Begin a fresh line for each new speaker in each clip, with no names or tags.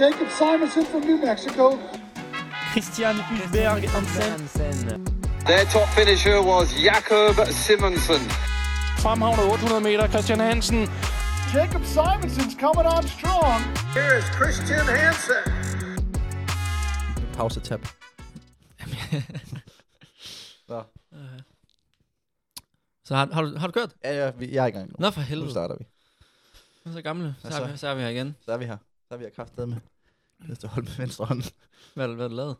Jacob Simonson from New Mexico.
Christian Hulberg Hansen.
Their top finisher was Jakob Simonsen.
Fremhavnet 800 meter, Christian Hansen.
Jacob Simonson's coming on strong. Here is Christian Hansen.
Pause tab. Nå.
Så har, har, du, har du kørt?
Ja, ja, vi, jeg er i gang nu.
Nå for
Nu
helvede.
starter vi.
Nu er så gamle. Så,
Hvad
er
så?
vi, så er vi her igen.
Så er vi her. Så er vi her kraftedet med. Jeg skal holde med venstre hånd.
Hvad, har du- hvad har du lavet?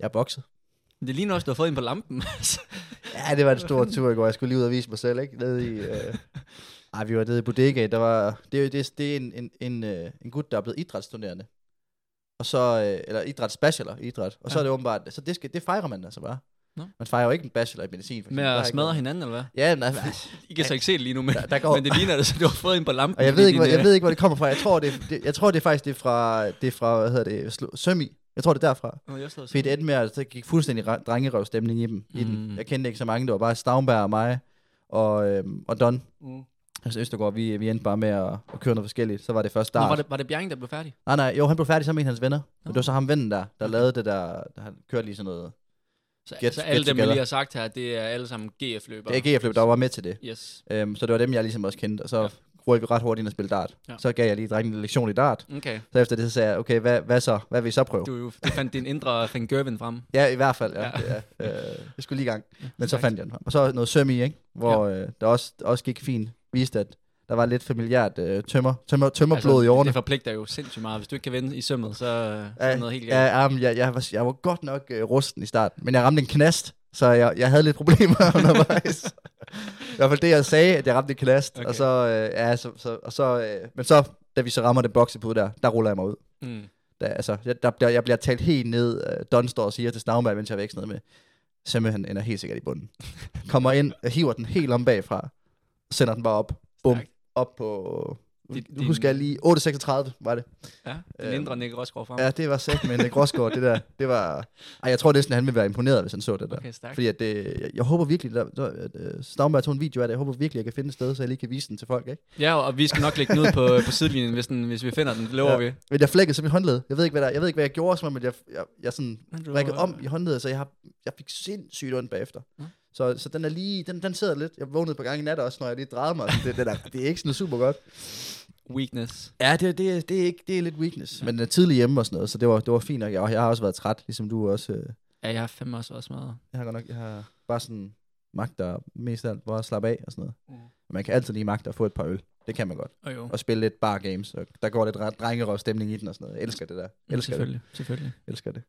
Jeg er bokset.
Det ligner også, du har fået en på lampen.
Ja, det var en stor tur i går. Jeg skulle lige ud og vise mig selv, ikke? Nede i... Øh... Ej, vi var nede i bodega. Der var... Det, er jo- det, er- det er en, en, en, øh, en gut, der er blevet idrætsstuderende. Og så... Øh, eller idrætsbachelor i idræt. Og så
Ja.
er det åbenbart... Så det, skal, det fejrer man altså bare.
Nå.
Man fejrer jo ikke en bachelor i medicin, for
Med
eksempel. Der er
at
ikke
smadre
noget-
hinanden, eller hvad?
Ja, men altså,
I kan så ikke se det lige nu, men,
Der- der går-
men det ligner det, så du har fået en på lampen.
og jeg
fordi
ved, ikke, hvor,
din,
jeg
øh,
ved ikke, hvor det kommer fra. Jeg tror, det, det, jeg tror, det er faktisk det er fra, det er fra hvad hedder det, Slo- Sømi. Jeg tror, det er derfra.
Nå, jeg slår
Fordi det endte med, at der gik fuldstændig re- drengerøvstemning i dem. Mm. I den.
Mm.
Jeg kendte ikke så mange, det var bare Stavnberg og mig og, øhm, og Don.
Mm.
Altså Østergaard, vi, vi endte bare med at, at køre noget forskelligt. Så var det først
Nå,
start. Ah,
var det, var det Bjerring, der blev færdig?
Nej, nej, jo, han blev færdig sammen med en af hans venner. Men
Nå.
det var så ham vennen der, der lavede det der, der han kørte lige sådan noget.
Så,
Get-
så
get
alle dem, jeg
together.
lige har sagt her, det er alle sammen GF-løbere.
Det er GF-løb, der var med til det.
Yes.
Øhm, så det var dem, jeg ligesom også kendte, og så
Ja.
røg vi ret hurtigt ind og spille dart.
Ja. Mm.
Så gav jeg lige drengen en lektion i dart.
Okay.
Så efter det, så sagde jeg, okay, hvad, hvad så? Hvad vil I så prøve?
Du, er jo- du fandt din indre Van Gerwen frem.
Ja, i hvert fald. Ja.
Ja.
Ja. Ja, øh, jeg skulle lige i gang. Men så
stærkt.
fandt jeg den. Og så noget søm i, ikke? hvor øh, der også, også gik fint. Viste, at der var lidt familiært øh, tømmer, tømmer, tømmerblod altså, i årene.
det forpligter jo sindssygt meget. Hvis du ikke kan vinde i sømmet, så øh, så er
Ja,
det noget helt galt.
ja, ja, men jeg, jeg, var, jeg var godt nok øh, rusten i starten, men jeg ramte en knast, så jeg, jeg havde lidt problemer undervejs. I hvert fald det, jeg sagde, at jeg ramte en knast, okay. og
Okay.
så, øh, ja, så, så, og så øh, men så, da vi så rammer den boksepude der, der ruller jeg mig ud.
Mm.
Der, altså, jeg, der, der, jeg bliver talt helt ned. Øh, Don står og siger til Snavberg, mens jeg væk sådan noget med, Semme, han ender helt sikkert i bunden. Kommer ind, og hiver den helt om bagfra, sender den bare op. Bum,
Stærkt.
op på... Nu
Din- din-
husker jeg lige, 8.36 var det.
Ja, den
Øhm,
indre Nick Rosgaard frem.
Ja, det var sæt med en Grosgaard, det der. Det var... Ej, jeg tror næsten, han ville være imponeret, hvis han så det der.
Okay, stærkt.
Fordi at det, jeg, jeg håber virkelig, der, der, at øh, Snavberg tog en video af det. Jeg håber virkelig, jeg kan finde et sted, så jeg lige kan vise den til folk, ikke?
Ja, og vi skal nok lægge den ud på, på sidelinjen, hvis, den, hvis vi finder den. Det lover
Ja.
ja. vi.
Men jeg flækkede som i håndled. Jeg ved ikke, hvad der, jeg ved ikke, hvad jeg gjorde, som om at jeg, jeg, jeg sådan
Du-
rækket om i håndledet, så jeg, har, jeg fik sindssygt ondt bagefter.
Nå.
Så, så den er lige, den, den sidder lidt. Jeg vågnede på gang i nat også, når jeg lige drejede mig. Så Det, det, der, det er ikke sådan super godt.
Weakness.
Ja, det, det, det, er, ikke, det er lidt weakness. Men den er tidlig hjemme og sådan noget, så det var, det var fint nok. Jeg, og jeg har også været træt, ligesom du også. øh.
Ja, jeg har fandme også været smadret.
Jeg har godt nok, jeg har bare sådan magt der mest af alt, hvor jeg slapper af og sådan noget.
Mm.
Men man kan altid lige magte at få et par øl. Det kan man godt.
Og jo,
Og spille lidt bar games. Og der går lidt dre- drengerøvstemning i den og sådan noget. Jeg elsker det der.
elsker
Jeg elsker det.
selvfølgelig. Det. selvfølgelig.
elsker det.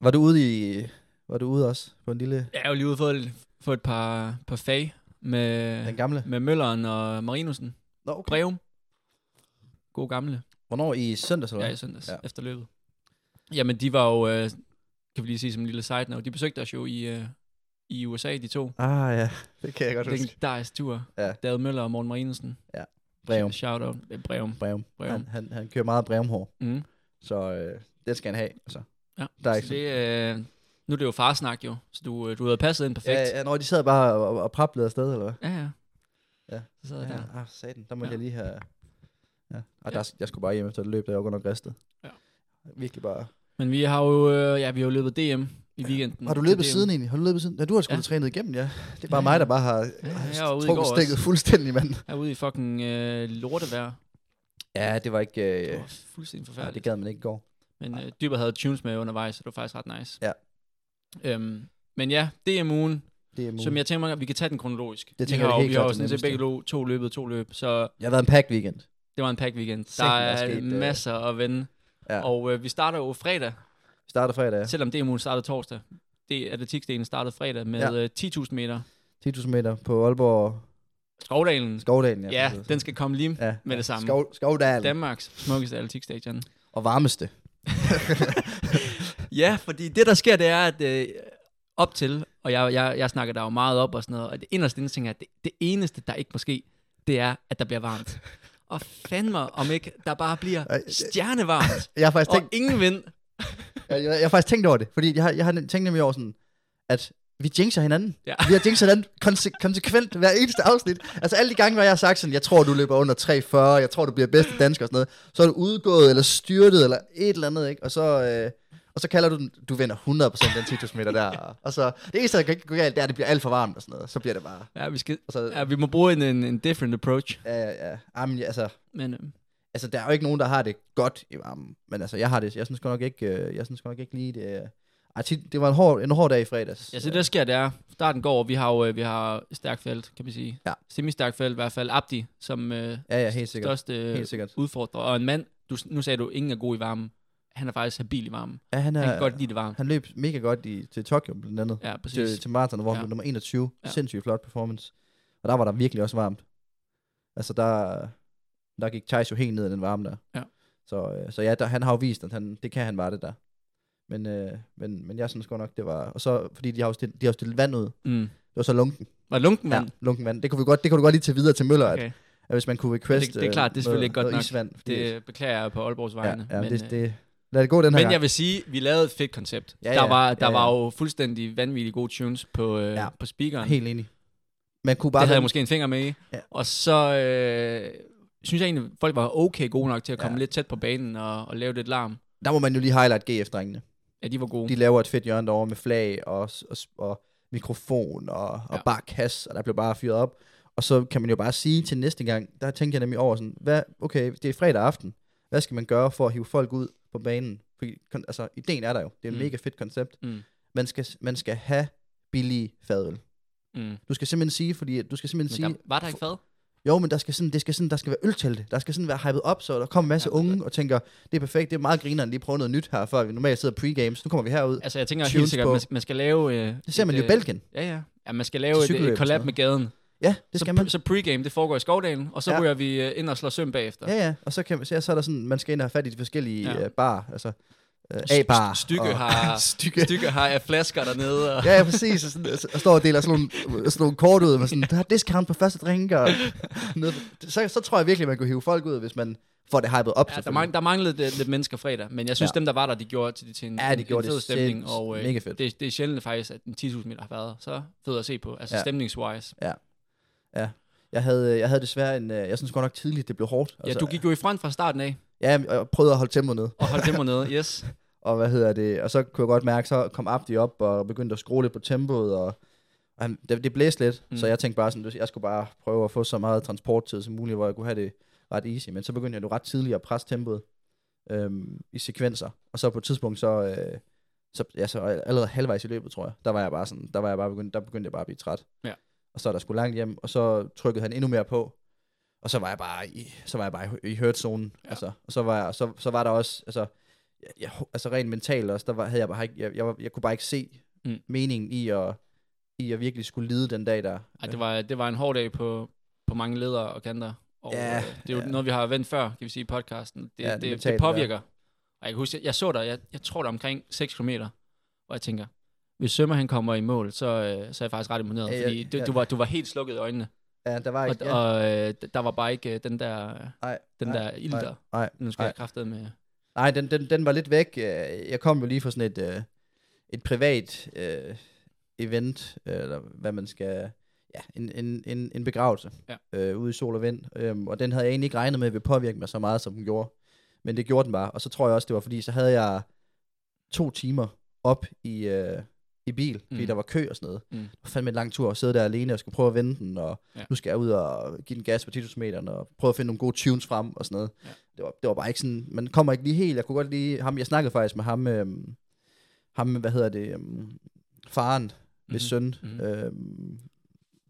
Var du ude i... Var du ude også på en lille...
Jeg er jo lige ude for, for et par, par fag med,
Den gamle?
med Mølleren og Marinussen.
Nå, okay.
Breum. God gamle.
Hvornår? I søndags, eller
Ja,
hvad?
i søndags
Ja.
ja. efter løbet. Jamen, de var jo, øh, kan vi lige sige som en lille side note, de besøgte os jo i, øh, i USA, de to.
Ah ja, det kan jeg godt huske.
Legendarisk tur.
Ja.
Ja. David Møller og Morten Marinussen.
Breum.
Shout out. Eh, Breum.
Breum.
Breum.
Han, han, han kører meget brevmhår,
Mm.
så øh, det skal han have. Altså.
Ja,
Der er
så
ikke
det, øh, nu er det jo farsnak jo, så du, øh, du havde passet ind perfekt.
Ja, ja, når de sad bare og, og prablede afsted, eller hvad?
ja. ja.
Ja.
Så sad jeg der.
ah, satan, der må ja.
Ja.
jeg lige have... Ja. Og
Ja.
der, jeg skulle bare hjem efter et løb, der jeg var godt nok ristet.
Ja.
Virkelig bare...
Men vi har jo, øh, ja, vi har jo løbet DM i weekenden.
Har du
Så
løbet
det er jo-
siden egentlig? Har du løbet siden? Ja, du har sgu
Ja.
da trænet igennem, ja. Det er bare
Ja,
mig,
ja.
der bare har,
Ja,
har
jeg var ude i
trukket
går også.
stikket fuldstændig, mand.
Herude i fucking øh, lortevejr.
Ja, det var ikke...
Det
Øh,
var fuldstændig
ja, det
forfærdeligt.
gad man ikke i går.
Men øh, Dyber havde tunes med undervejs, så det var faktisk ret nice.
Ja.
Øhm, men ja, DM-ugen,
Det er
som jeg tænker mig, at vi kan tage den kronologisk. Det
tænker jeg, det er
vi har,
helt
jo- vi
klart
har jo
det
sådan set
nemmeste.
begge lo- to løbet, to løb, så
jeg har været en packed weekend.
det var en pack weekend. Der
Sikke, der er
er
sket, øh,
masser at vende.
Ja.
Og øh, vi starter jo fredag,
Vi starter fredag.
ja. selvom DM-ugen startede torsdag. Det atletikdelen startede fredag med ja. 10.000 meter.
10.000 meter på Aalborg
Skovdalen.
Skovdalen.
Ja, den skal komme lige
ja.
med det samme.
Skov, Skovdalen. Dem.
Danmarks smukkeste atletikstadion.
Og varmeste.
Ja, fordi det der sker, det er, at øh, op til, og jeg, jeg, jeg snakker der jo meget op og sådan noget, og det inderste indstilling er, at det, det eneste, der ikke må ske, det er, at der bliver varmt. Og fandme, om ikke der bare bliver
Ej, det- Altså,
stjernevarmt,
Jeg har faktisk
og
tænkt,
ingen vind.
jeg, jeg, jeg har faktisk tænkt over det, fordi jeg har, jeg har nem- tænkt nemlig over sådan, at vi jinxer hinanden.
Ja.
Ja. Vi har jinxet hinanden konse- konsekvent hver eneste afsnit. Altså alle de gange, hvor jeg har sagt sådan, jeg tror, du løber under 3,40, jeg tror, du bliver bedste dansker og sådan noget. Så er du udgået eller styrtet eller et eller andet, ikke? Og så, øh, og så kalder du den, du vinder 100% den 10.000 meter der. Og- Og så, det eneste, der kan gå galt, det er, at det bliver alt for varmt og sådan noget. Så bliver det bare,
Ja, vi, skal,
og så,
ja, vi må bruge en, en, en different approach.
ja, ja, ja. Jamen, ja, altså,
Men øhm,
altså, der er jo ikke nogen, der har det godt i varmen. Men altså, jeg har det, jeg synes godt nok ikke, øh, jeg synes godt nok ikke lige det. øh. Ej, tit- det var en hård, en hård dag i fredags.
ja, så det der sker, det er, starten går, og vi har jo øh, vi har stærkt felt, kan man sige.
Ja.
Semi-stærkt felt, i hvert fald Abdi, som øh,
Ja, ja, helt sikkert.
største øh,
Helt sikkert.
udfordrer. Og en mand, du, nu sagde du, ingen er god i varmen. Han er faktisk habil i varmen.
Ja, han, er,
Han kan godt lide det varme.
han løb mega godt i, til Tokyo blandt andet.
Ja, præcis.
til, til maraton, hvor han
Ja.
blev nummer 21.
Ja.
Ja. Sindssygt flot performance. Og der var der virkelig også varmt. Altså der, der gik Thijs jo helt ned i den varme der.
Ja.
Så, øh, så ja, der, han har jo vist, at han, det kan han bare det der. Men, øh, men, men jeg synes godt nok, det var... Og så, fordi de har jo stillet, de har jo stillet vand ud. Det
Mm.
var så lunken.
Var det lunken,
Ja,
mand?
lunken vand. Det kunne, vi godt, det kunne du godt lige tage videre til Møller, okay. at,
Okay.
at, hvis man kunne request
det er
øh,
klart, det er selvfølgelig ikke godt
noget
nok.
Isvand, fordi, det,
Det beklager jeg på Aalborgs
ja,
vegne.
ja, men,
øh,
det, det, lad det gå den her
Men
gang.
jeg vil sige, vi lavede et fedt koncept. Ja,
Ja,
der
ja,
var, der
ja, ja.
var jo fuldstændig vanvittige gode tunes på, øh, ja.
Ja.
på speakeren. Helt
Helt enig. Man kunne
bare
bare...
det havde jeg måske en finger med i. Ja.
Ja.
Og så øh, synes jeg egentlig, folk var okay gode nok til at komme ja.
Ja.
lidt tæt på banen og, og lave lidt larm.
Der må man jo lige highlight GF-drengene.
Ja, de var gode.
de laver et fedt hjørne derovre med flag og, og, og mikrofon og, og
Ja.
ja. bare kasse, og der blev bare fyret op. Og så kan man jo bare sige til næste gang, der tænker jeg nemlig over sådan, hvad, okay, det er fredag aften, hvad skal man gøre for at hive folk ud på banen? Fordi, kon- altså, ideen er der jo, det er et
Mm.
mm. mega fedt koncept.
Mm.
Man, skal, man skal have billige fadøl.
Mm.
Du skal simpelthen sige, fordi at du skal simpelthen
Men
sige,
der, var der ikke fad?
jo, men der skal sådan, det skal sådan, der skal være øltelte. Der skal sådan være hypet op, så der kommer en masse
Ja,
ja, unge og tænker, det er perfekt, det er meget grineren, lige prøve noget nyt her, før vi normalt sidder pre-games. Nu kommer vi herud.
Altså, jeg tænker
Tunes
helt sikkert,
på.
man, man skal lave... Øh,
Det ser man
et,
jo i
øh,
Belgien.
Ja, ja. Ja, man skal lave et,
cykelløb
et
og
collab
sådan
med gaden.
Ja, det
så,
skal man.
Så pregame, det foregår i Skovdalen, og så ja.
Ja.
ryger vi øh, ind og slår søm bagefter.
Ja, ja. Og så, kan man, så, så er der sådan, man skal ind og have fat i de forskellige
Ja.
ja. uh, bar. Altså, uh, A-bar.
Stykke
og,
har,
stykke.
stykke har af flasker dernede. Og...
Ja, ja, præcis. Og, sådan, og, så- og står og deler sådan nogle, sådan nogle kort ud med sådan, der er discount på første drink. Og, noget. så, så tror jeg virkelig, man kunne hive folk ud, hvis man får det hypet
Ja,
op.
der,
selvfølgelig.
mang, der manglede lidt, lidt mennesker fredag, men jeg synes, ja.
Ja.
dem, der var der, de gjorde til, til en,
Ja, de
en,
gjorde
en
det
fed stemning.
sindssygt
Og, øh,
mega fedt.
Det, det er sjældent faktisk, at en 10.000 meter har været så fed at se på, altså ja.
Ja.
stemningswise.
jeg, havde, jeg havde desværre en... øh, Jeg synes godt nok tidligt, det blev hårdt. Altså,
Ja, du gik jo i front fra starten af,
Ja, og jeg prøvede at holde tempoet ned.
og holdt dem nede, yes.
Og hvad hedder det? Og så kunne jeg godt mærke, så kom Abdi op og begyndte at skrue lidt på tempoet, og, og han, det, det blæste lidt, mm. så jeg tænkte bare sådan, jeg skulle bare prøve at få så meget transporttid som muligt, hvor jeg kunne have det ret easy. Men så begyndte jeg nu ret tidligt at presse tempoet øhm, i sekvenser, og så på et tidspunkt så, øh, så, ja, så allerede halvvejs i løbet, tror jeg, der var jeg bare sådan, der var jeg bare begyndt, der begyndte jeg bare at blive træt.
Ja.
Og så er der skulle langt hjem, og så trykkede han endnu mere på, og så var jeg bare i, så var jeg bare i, i hurtzonen,
Ja.
ja. altså, og så var jeg, så, så var der også, altså, jeg, jeg, altså rent mentalt også, der var, havde jeg bare ikke, jeg, jeg, var, jeg kunne bare ikke se
Mm.
mm. meningen i at, i at virkelig skulle lide den dag der.
Ej, det, var, det var en hård dag på, på mange ledere og kanter. Og
Ja,
øh, det er jo
ja.
noget, vi har vendt før, kan vi sige, i podcasten. Det,
Ja,
ja, det, det
mentalt,
påvirker. Og jeg kan huske, jeg, jeg så dig, jeg, jeg tror der omkring 6 km, og jeg tænker, hvis Sømmer han kommer i mål, så, øh, så er jeg faktisk ret imponeret,
Ja, ja,
fordi du,
ja.
du, var, du var helt slukket i øjnene.
Ja, der var
Og,
ikke, ja,
og øh, d- der var bare ikke øh, den der,
nej,
den
nej,
der ild der.
nej,
Nu skal jeg
nej.
kraftede med.
nej den, den, den var lidt væk. Øh, Jeg kom jo lige fra sådan et, øh, et privat øh, event, øh, eller hvad man skal, ja, en, en, en, en begravelse
Ja.
øh, ude i sol og vind, øhm, og den havde jeg egentlig ikke regnet med ville påvirke mig så meget, som den gjorde. Men det gjorde den bare, og så tror jeg også, det var fordi, så havde jeg to timer op i, øh, i bil, fordi
Mm.
der var kø og sådan noget.
Mm.
Mm. Det var fandme en lang tur at sidde der alene og skulle prøve at vende den, og
Ja.
ja. nu skal jeg ud og give den gas på 10.000 meteren, og prøve at finde nogle gode tunes frem og sådan noget.
Ja.
Ja. Det, var, det var bare ikke sådan, man kommer ikke lige helt, jeg kunne godt lige, ham, jeg snakkede faktisk med ham, øhm, ham hvad hedder det, øhm, faren, hvis søn,
Mhm.
mm-hmm. øhm,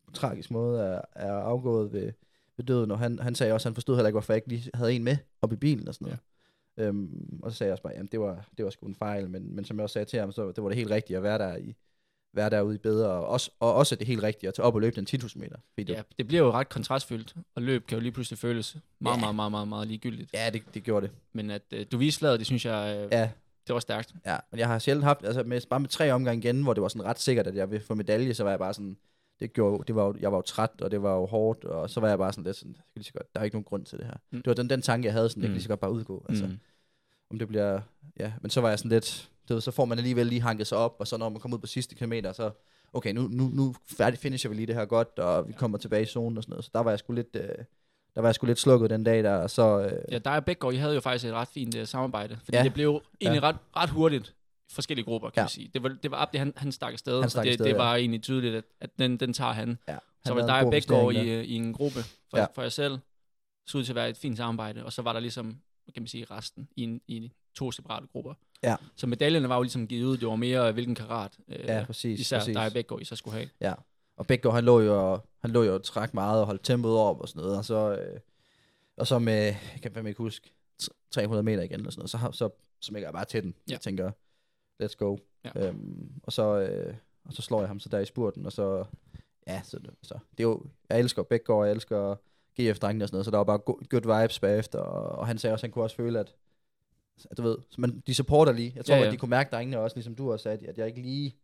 på tragisk måde er, er afgået ved, ved døden, og han, han sagde også, at han forstod heller ikke, hvorfor jeg ikke lige havde en med op i bilen og sådan noget. Ja. Øhm, og så sagde jeg også bare, at det var, det var sgu en fejl, men, men som jeg også sagde til ham, så det var det helt rigtige at være der i være derude i bedre, og også, og også det helt rigtige at tage op og løbe den 10.000 meter. Fordi det,
Ja, det bliver jo ret kontrastfyldt, og løb kan jo lige pludselig føles meget,
Ja.
meget, meget, meget, meget ligegyldigt.
ja det, det gjorde det.
Men at øh, du viste slaget, det synes jeg, øh,
Ja,
det var stærkt.
ja. Men jeg har sjældent haft, altså med, bare med tre omgange igen, hvor det var sådan ret sikkert, at jeg ville få medalje, så var jeg bare sådan, det gjorde, jo- det var jo, jeg var jo træt, og det var jo hårdt, og så var jeg bare sådan lidt sådan, jeg kan lige så godt, der er ikke nogen grund til det her.
Mm.
Det var den, den tanke, jeg havde, sådan, jeg
Mm.
kan lige så godt bare udgå. Altså.
Altså. Mm.
om det bliver, ja, men så var jeg sådan lidt, du ved, så får man alligevel lige hanket sig op, og så når man kommer ud på sidste kilometer, så okay, nu, nu, nu færdig finisher vi lige det her godt, og vi kommer tilbage i zonen og sådan noget. Så der var jeg sgu lidt, øh, der var jeg sgu lidt slukket den dag der, og så... Øh,
Ja, dig og Bækgaard, I havde jo faktisk et ret fint uh, samarbejde, fordi ja.
Ja.
det blev egentlig ja. ret, ret hurtigt forskellige grupper, kan ja.
Ja.
man sige. Det var, det var Abdi, han, han stak afsted,
Han stak
og det,
afsted,
det
ja.
var egentlig tydeligt, at, at den, den tager han.
ja, han
Så var
lavede en
dig og
god
Bækgaard
investering
i, øh, i en gruppe for, ja.
Ja.
for jer selv, så ud til at være et fint samarbejde, og så var der ligesom, hvad kan man sige, resten i, en, i to separate grupper.
Ja.
Så medaljerne var jo ligesom givet ud, det var mere, øh, hvilken karat, øh,
der. Ja, præcis.
især
præcis.
dig og Bækgaard, I så skulle have.
Ja, og Bækgaard, han lå jo, han lå jo og trak meget og holdt tempoet op og sådan noget, og så, øh, og så med, jeg kan fandme ikke huske, tr- 300 meter igen og sådan noget, så, har- så, så smækker jeg bare til den,
Ja.
jeg tænker, let's go.
Ja.
Øhm, og, så, øh, og så slår jeg ham så der i spurten, og så, ja, så, så det er jo, jeg elsker Bækgaard, jeg elsker GF-drengene og sådan noget, så der var bare go- good vibes bagefter, og, og han sagde også, han kunne også føle, at, at du ved, så man, de supporter lige, jeg tror,
Ja,
ja,
ja.
ja. at de kunne mærke drengene også, ligesom du også sagde, at jeg ikke lige,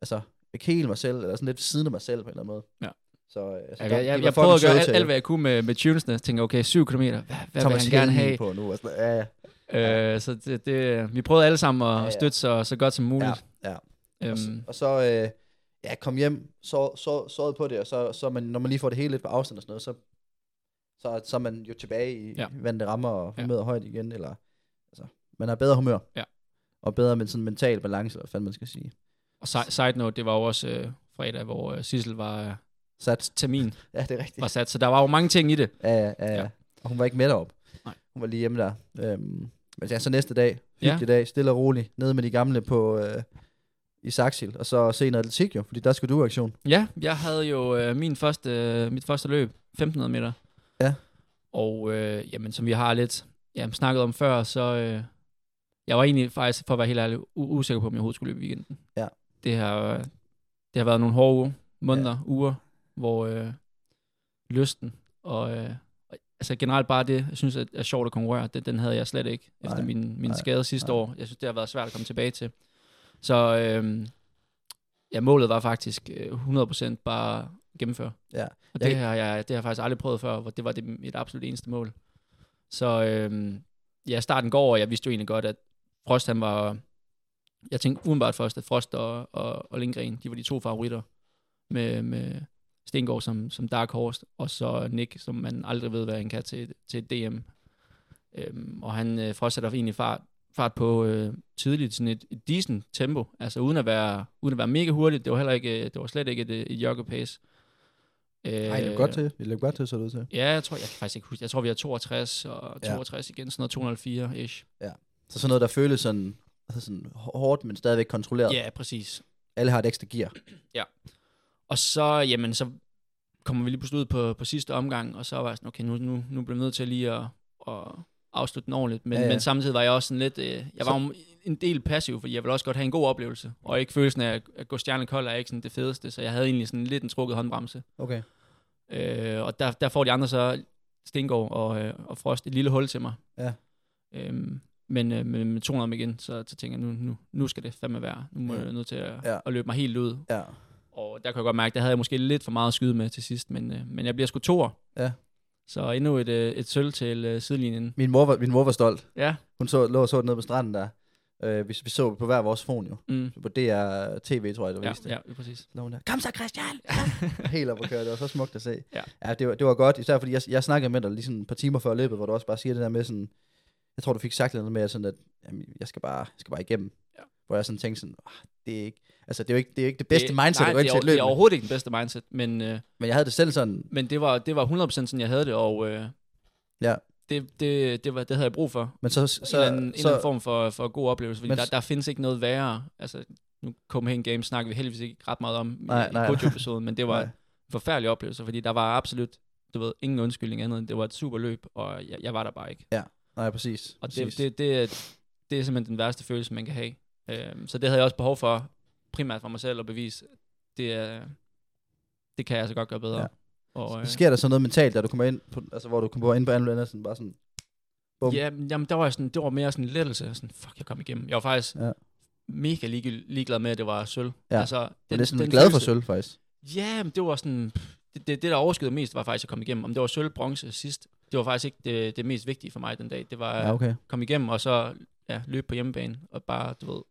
altså, ikke helt mig selv, eller sådan lidt ved siden af mig selv på en eller anden måde.
Ja.
Så, øh, altså,
Jeg,
der-
jeg,
de
jeg,
var
jeg
fucking
prøvede at gøre
søde
alt,
til
alt, hvad jeg kunne med, med tunesene. Tænkte, okay, 7 km, hvad, hvad vil
Thomas
han gerne have?
Helmig på nu. Og sådan, ja, ja.
Øh, så det, det, vi prøvede alle sammen at
Ja, ja.
støtte så, så godt som muligt.
Ja, ja.
Øhm,
Og s- Og så, øh, ja, kom hjem, så, så, såret på det, og så, så man, når man lige får det hele lidt på afstand og sådan noget, så, så, så er man jo tilbage i
Ja.
ja. vandet rammer og
Ja.
humøret ja. højt igen, eller altså, man har bedre humør.
Ja.
Og bedre men sådan mental balance, eller hvad fanden man skal sige.
og si- side note, det var jo også øh, fredag, hvor øh, Sissel var øh,
Sat.
termin
Ja, det er rigtigt.
var sat, så der var jo mange ting i det.
Ja, ja, ja.
Ja.
ja. Og hun var ikke med derop.
Nej.
Hun var lige hjemme der. Øhm, men ja, så næste dag,
Ja.
hyggelig ja. dag, stille og rolig, nede med de gamle på øh, i Saxil, og så se noget atletik jo, fordi der skulle du i aktion.
Ja, jeg havde jo øh, min første, øh, mit første løb, 1500 meter.
Ja.
Og øh, jamen, som vi har lidt jamen, snakket om før, så øh, jeg var egentlig faktisk, for at være helt ærlig, u- usikker på, om jeg overhovedet skulle løbe i weekenden.
Ja.
Det har, øh, det har været nogle hårde uger, måneder, ja. uger, hvor øh, lysten og... Øh, og- Altså generelt bare det, jeg synes, at er sjovt at konkurrere, den, den havde jeg slet ikke efter
Nej,
min, min
nej,
skade sidste
nej.
år. Jeg synes, det har været svært at komme tilbage til. Så øhm, ja, målet var faktisk øh, 100% bare gennemføre.
Ja.
Og
Jeg
det
kan-
har, jeg, det har jeg faktisk aldrig prøvet før, hvor det var det, mit absolut eneste mål. Så øhm, ja, starten går, og jeg vidste jo egentlig godt, at Frost han var... Jeg tænkte udenbart først, at Frost og, og, og Lindgren, de var de to favoritter med, med Stengård som, som Dark Horse, og så Nick, som man aldrig ved, hvad han kan til, til et DM. Øhm, og han øh, Frost sætter egentlig fart, fart på øh, tidligt, sådan et, et decent tempo, altså uden at være, uden at være mega hurtigt. Det var heller ikke, øh, det var slet ikke et, øh, et jogger pace. Øh,
Nej, det er godt til. Det er godt til, så det ud til.
Ja, jeg tror, jeg kan faktisk ikke huske. Jeg tror, vi har 62 og
Ja.
62 igen, sådan noget 204-ish.
Så sådan noget, der føles sådan, altså sådan hårdt, men stadigvæk kontrolleret.
Ja, præcis.
Alle har et ekstra gear.
Og så, jamen, så kommer vi lige pludselig ud på, på sidste omgang, og så var jeg sådan, okay, nu, nu, nu bliver vi nødt til lige at, at afslutte den ordentligt. Men, ja,
Ja,
ja.
ja.
men samtidig var jeg også sådan lidt, øh, jeg var
Så-
jo en del passiv, fordi jeg ville også godt have en god oplevelse. Og ikke følelsen af at- at gå stjernekold er ikke sådan det fedeste, så jeg havde egentlig sådan lidt en trukket håndbremse.
Okay.
Øh, og der, der får de andre så Stengård og, øh, og Frost et lille hul til mig.
Ja.
Øhm, men øh, med, med 200 om igen, så, så tænker jeg, nu, nu, nu skal det fandme være. Nu må
Ja.
jeg jeg nødt til at, ja.
Ja.
at løbe mig helt ud.
Ja.
Og der kunne jeg godt mærke, der havde jeg måske lidt for meget at skyde med til sidst, men, øh, men jeg bliver sgu toer.
Ja.
Så endnu et, øh, et sølv til øh, sidelinjen.
Min mor var, min mor var stolt.
Ja.
Hun så, lå og så nede på stranden der. Øh, vi, vi, så på hver vores fon jo.
Mm.
På DR TV, tror jeg, der
Ja,
viste det.
ja, ja, præcis.
Så lå hun der, kom så Christian! Helt op at køre, det var så smukt at se.
Ja.
ja det, var, det var godt, især fordi jeg, jeg snakkede med dig lige sådan et par timer før løbet, hvor du også bare siger det der med sådan, jeg tror du fik sagt noget med, sådan at jamen, jeg, skal bare, jeg skal bare igennem.
Ja.
Hvor jeg sådan tænkte sådan, "Ah, det er ikke, altså det er jo ikke det, er jo ikke det bedste det, mindset,
nej,
at gå ind
det
til
er, over-
et
det
løb.
er
med.
overhovedet ikke den bedste mindset, men, øh,
Men jeg havde det selv sådan,
men det, var, det var 100% sådan, jeg havde det, og øh,
Ja.
det, det, det, var, det havde jeg brug for.
men så,
Så,
så,
en, eller anden, en
så,
eller anden form for, for god oplevelse, fordi
Men
der,
s-
der findes ikke noget værre. Altså, nu Copenhagen Games snakker vi heldigvis ikke ret meget om
Nej,
i,
nej.
i episoden men det var
Nej.
en forfærdelig oplevelse, fordi der var absolut du ved, ingen undskyldning andet end, det var et super løb, og jeg, jeg var der bare ikke.
nej, præcis.
Og det,
præcis.
det, det, er- det er simpelthen den værste følelse, man kan have. Øhm, så det havde jeg også behov for, primært for mig selv, at bevise, at det, er- det kan jeg altså godt gøre bedre. Ja.
Ja.
Og, øh,
Sker der så noget mentalt, da du kommer ind på, altså hvor du kommer ind på anden Andersen, bare sådan, bum.
ja, men- jamen, der var jeg sådan, det var mere sådan en lettelse. Jeg var Sådan, fuck, jeg kom igennem. Jeg var faktisk ja.
Ja.
mega ligelig, ligeglad med, at det var sølv.
Ja,
altså,
Men det er sådan, glad for
følelse-
sølv, faktisk.
Ja, men det var sådan... pff, Det, det, det, der overskydede mest, var faktisk at komme igennem. Om det var sølv, bronze sidst, det var faktisk ikke det, det mest vigtige for mig den dag. Det var
Ja,
at
okay.
komme igennem, og så ja, løbe på hjemmebane, og bare, du ved,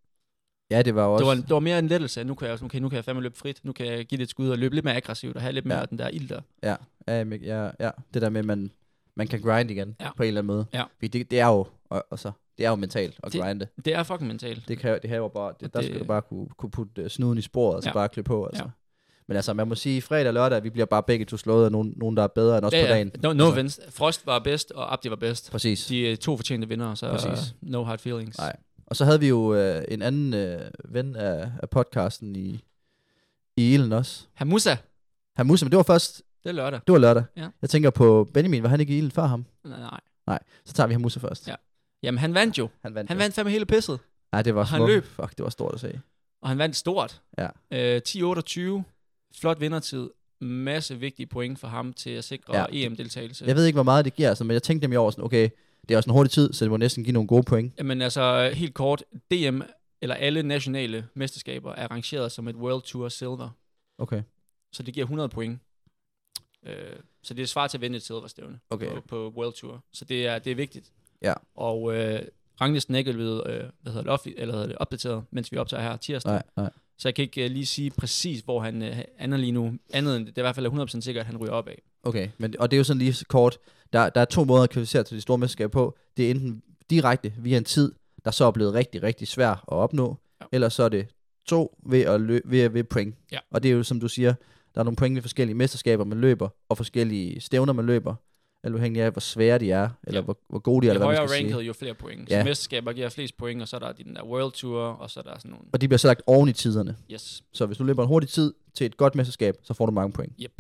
Ja, det var jo
Det
også...
var, en, det var mere en lettelse. at Nu kan jeg, også- okay, nu kan jeg fandme løbe frit. Nu kan jeg give det et skud og løbe lidt mere aggressivt og have lidt mere
Ja.
ja. den der ild der.
Ja, ja, Mik- ja, ja, det der med, at man, man kan grind igen ja.
Ja.
på en eller anden måde.
Ja.
Fordi det, det er jo, og, og så, det er jo mentalt at det,
Det-
grinde.
Det er fucking mentalt.
Det kræver, det kræver bare, det,
Og
der
det-
skal du bare kunne, kunne putte øh, snuden i sporet, og så ja.
Ja.
bare klø på. Altså. Ja.
Ja.
Men altså, man må sige, fredag og lørdag, vi bliver bare begge to slået af nogen, nogen der er bedre end os
Ja,
på
ja.
dagen.
No, no
Altså,
offense. Frost var bedst, og Abdi var bedst.
Præcis.
De er to fortjente vinder, så
Præcis.
uh, no hard feelings.
Nej. Og så havde vi jo øh, en anden øh, ven af, af podcasten i, i Elen også.
Hamusa,
Han Musa, men det var først,
det er lørdag.
det var lørdag.
Ja.
Jeg tænker på Benjamin, var han ikke i Elen før ham?
Nej, nej.
Nej, så tager vi ham Musa først.
Ja. Jamen, han vandt jo.
Han vandt.
Han
jo.
vandt fandme hele pisset.
Ja, det var
Og han
smukt.
løb.
Fuck, det var stort at se.
Og han vandt stort.
Ja.
Øh, 10-28. Flot vindertid. Masse vigtige point for ham til at sikre E
Ja.
ja. EM-deltagelse.
Jeg ved ikke, hvor meget det giver, altså, men jeg tænkte dem i år sådan, okay, det er også en hurtig tid, så det må næsten give nogle gode point.
Jamen altså, helt kort. DM, eller alle nationale mesterskaber, er arrangeret som et World Tour Silver.
Okay.
Så det giver 100 point. Øh, så det er svar til at vinde et silverstævne
Okay.
på, på World Tour. Så det er, det er vigtigt.
Ja.
Og øh, ranglisten er ikke blevet øh, hvad hedder det, offi, eller hedder det, opdateret, mens vi optager her tirsdag.
Nej, nej.
Så jeg kan ikke øh, lige sige præcis, hvor han øh, ender lige nu. Andet end det er i hvert fald er 100% sikkert, at han ryger op af.
Okay, men, og det er jo sådan lige kort. Der, der er to måder at kvalificere til de store mesterskaber på. Det er enten direkte via en tid, der så er blevet rigtig, rigtig svær at opnå, ja.
Ja.
eller så er det to ved, at lø- ved, ved point.
Ja.
Og det er jo, som du siger, der er nogle point ved forskellige mesterskaber, man løber, og forskellige stævner, man løber, alt afhængig af, hvor svære de er, eller ja.
Ja.
hvor, hvor gode de er,
Jo
eller hvad
højere
man skal
ranket,
sige.
jo flere point.
Ja.
Så mesterskaber giver flest point, og så er der den der World Tour, og så er der sådan nogle...
Og de bliver så lagt oven i tiderne.
Yes.
Så hvis du løber en hurtig tid til et godt mesterskab, så får du mange point.
Yep.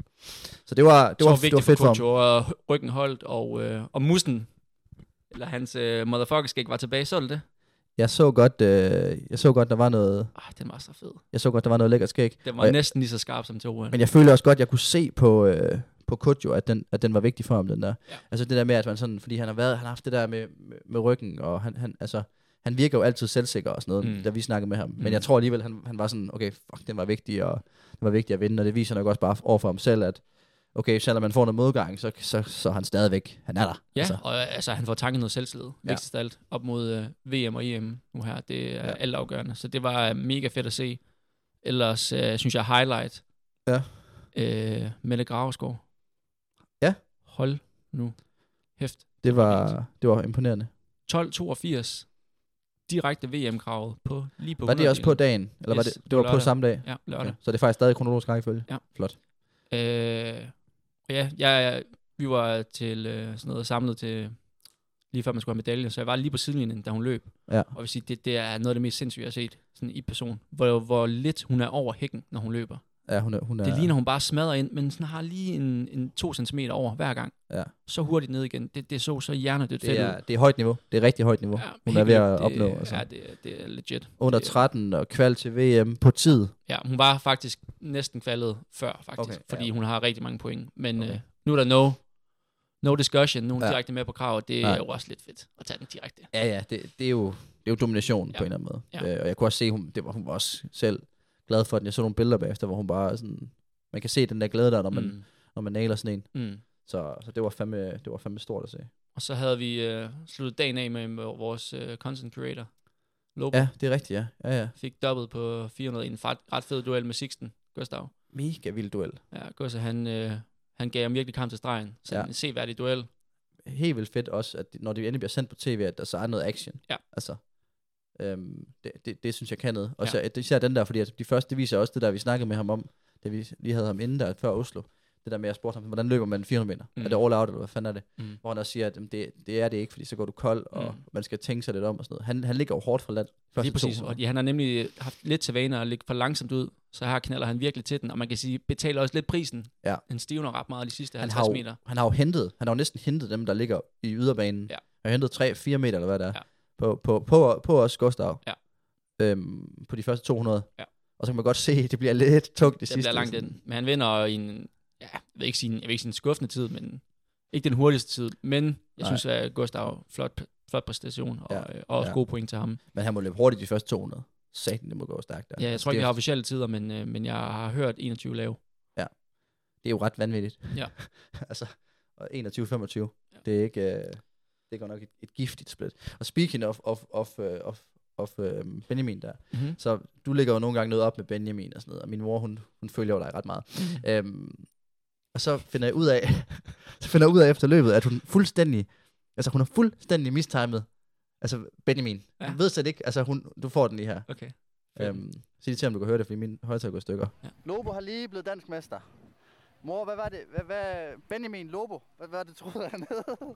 Så det var, det
Det var,
var,
så
det
vigtigt
var
det
fedt for
for
ham.
Courtois, og ryggen holdt, og, øh, og mussen, eller hans øh, motherfucker ikke var tilbage. Så du det?
Jeg så godt, øh, jeg så godt, der var noget,
Ah, den var så fed.
jeg så godt, der var noget lækkert skæg.
Den
Og
var
jeg-
næsten lige så skarp som til OL.
Men jeg føler også godt, jeg kunne se på, øh, på Kodjo, at den, at den var vigtig for ham, den der. Ja.
Ja.
Altså det der med, at man sådan, fordi han har været, han har haft det der med, med, med ryggen, og han, han, altså, han virker jo altid selvsikker og sådan noget, mm.
Mm.
da vi snakkede med ham. Men
Mm.
jeg tror alligevel, han, han var sådan, okay, fuck, den var vigtig, og den var vigtig at vinde, og det viser nok også bare over for ham selv, at okay, selvom man får noget modgang, så, så, så er han stadigvæk, han er der.
Ja,
Altså,
altså. og øh, altså, han får tanket noget selvtillid.
Ja.
Ja. Vigtigst af alt op mod øh, VM og EM nu her. Det er
Ja.
ja. altafgørende. Så det var øh, mega fedt at se. Ellers øh, synes jeg highlight.
Ja.
Øh, Mette Gravesgaard.
Ja.
Hold nu. Hæft.
det, var, det var imponerende.
12.82. Direkte VM-kravet på lige på
Var det også på
100-delen.
dagen? Eller var
Yes,
det,
det
det
var
var på
lørdag.
samme dag?
Ja,
Okay.
lørdag.
Så det er faktisk stadig kronologisk rækkefølge?
Ja.
Flot.
Øh, og ja, jeg, vi var til øh, sådan noget samlet til lige før man skulle have medalje, så jeg var lige på sidelinjen, da hun løb.
Ja.
Og jeg vil sige, det, det er noget af det mest sindssyge, jeg har set sådan i person. Hvor, hvor lidt hun er over hækken, når hun løber.
Ja, hun er, hun er,
Ja. Det ligner, hun bare smadrer ind, men sådan har lige en, en to centimeter over hver gang.
Ja.
Så hurtigt ned igen. Det, det så så hjernedødt fedt
det
ud.
er, det er højt niveau. Det er rigtig højt niveau.
Ja,
hun
helt
er ved
vildt.
at opnå,
Det,
altså.
Ja, det, er- det er legit.
under
Det-
13 og kval til VM på tid.
Ja, hun var faktisk næsten faldet før, faktisk,
Okay,
okay,
ja.
fordi ja. hun har rigtig mange point. Men
Okay.
okay. øh, nu er der no, no discussion, nu er hun
Ja.
ja. direkte med på krav, og det
Nej.
er jo også lidt fedt at tage den direkte.
Ja, ja, det, det, er, jo, det er jo domination ja. på
Ja.
en eller anden måde.
Ja.
Øh, og jeg kunne også se, hun, det var, hun var også selv glad for den. Jeg så nogle billeder bagefter, hvor hun bare sådan... Man kan se den der glæde der, når man, mm. når man nailer sådan en.
Mm. Mm.
Så, så det, var fandme, det var fandme stort at se.
Og så havde vi øh, sluttet dagen af med, med vores øh, content creator, Lobo. Ja.
Ja, det er rigtigt, ja. Ja, ja.
Fik dobbelt på 400 i en ret, ret fed duel med Sixten, Gustav.
Mega vild duel.
Ja, Gustav, han, øh, han gav ham virkelig kamp til stregen. Så
Ja.
ja. en seværdig duel.
Helt vildt fedt også, at det- når det endelig bliver sendt på tv, at der så er noget action.
Ja.
Altså, øhm, det, det, det, synes jeg kan noget. Og
Ja.
ja. så, især den der, fordi at de første, det viser også det der, vi snakkede med ham om, da vi lige havde ham inden der før Oslo. Det der med, at jeg spurgte ham, hvordan løber man 400 meter? Mm.
Mm.
Er det all out, eller hvad fanden er det?
Mm.
hvor han også siger, at jamen, det, det er det ikke, fordi så går du kold, og mm.
Mm.
man skal tænke sig lidt om og sådan noget. Han, han ligger jo hårdt fra land. første
Lige præcis,
200.
og ja, han har nemlig øh, haft lidt til vaner at ligge for langsomt ud, så her knaller han virkelig til den, og man kan sige, betaler også lidt prisen.
Ja.
Han stivner ret meget de sidste
han
50
har, jo,
meter.
han har jo hentet, han har jo næsten hentet dem, der ligger i yderbanen.
Ja.
Han har hentet 3-4 meter, eller hvad det er,
Ja.
på, på, på, på os, Gustav.
Ja.
Øhm, på de første 200.
Ja.
Og så kan man godt se, at det bliver lidt tungt det,
Det
sidste.
bliver langt
sådan.
den. Men han vinder i en, ja, jeg vil ikke sige, en- jeg vil ikke sige en skuffende tid, men ikke den hurtigste tid. Men jeg
Nej.
Nej. synes, at Gustav flot, flot præstation, og,
Ja.
ja. og også
Ja.
ja. gode point til ham.
Men han må løbe hurtigt de første 200. Satan, det må gå stærkt der.
Ja, jeg
Altså,
tror
det
ikke,
er-
jeg har officielle tider, men, øh, men jeg har hørt 21 lave.
Det er jo ret vanvittigt.
Ja.
altså, og 21-25. Ja.
Ja.
Det er ikke... Øh, det er godt nok et, et giftigt split. Og speaking of, of, of, øh, of, of øh, Benjamin der.
Mhm.
Så du lægger jo nogle gange noget op med Benjamin og sådan noget, og min mor, hun, hun følger jo dig ret meget.
Mm-hmm.
øhm, og så finder jeg ud af, så finder jeg ud af efter løbet, at hun fuldstændig, altså hun har fuldstændig mistimet, altså Benjamin.
Ja.
Ja. Hun ved slet ikke, altså hun, du får den lige her.
Okay. Fedt.
Øhm, sig det til, om du kan høre det, fordi min højtaler går i stykker.
Lobo har lige blevet dansk mester. Mor, hvad var det? Hvad, hvad, Benjamin Lobo, hvad var det, troede han hed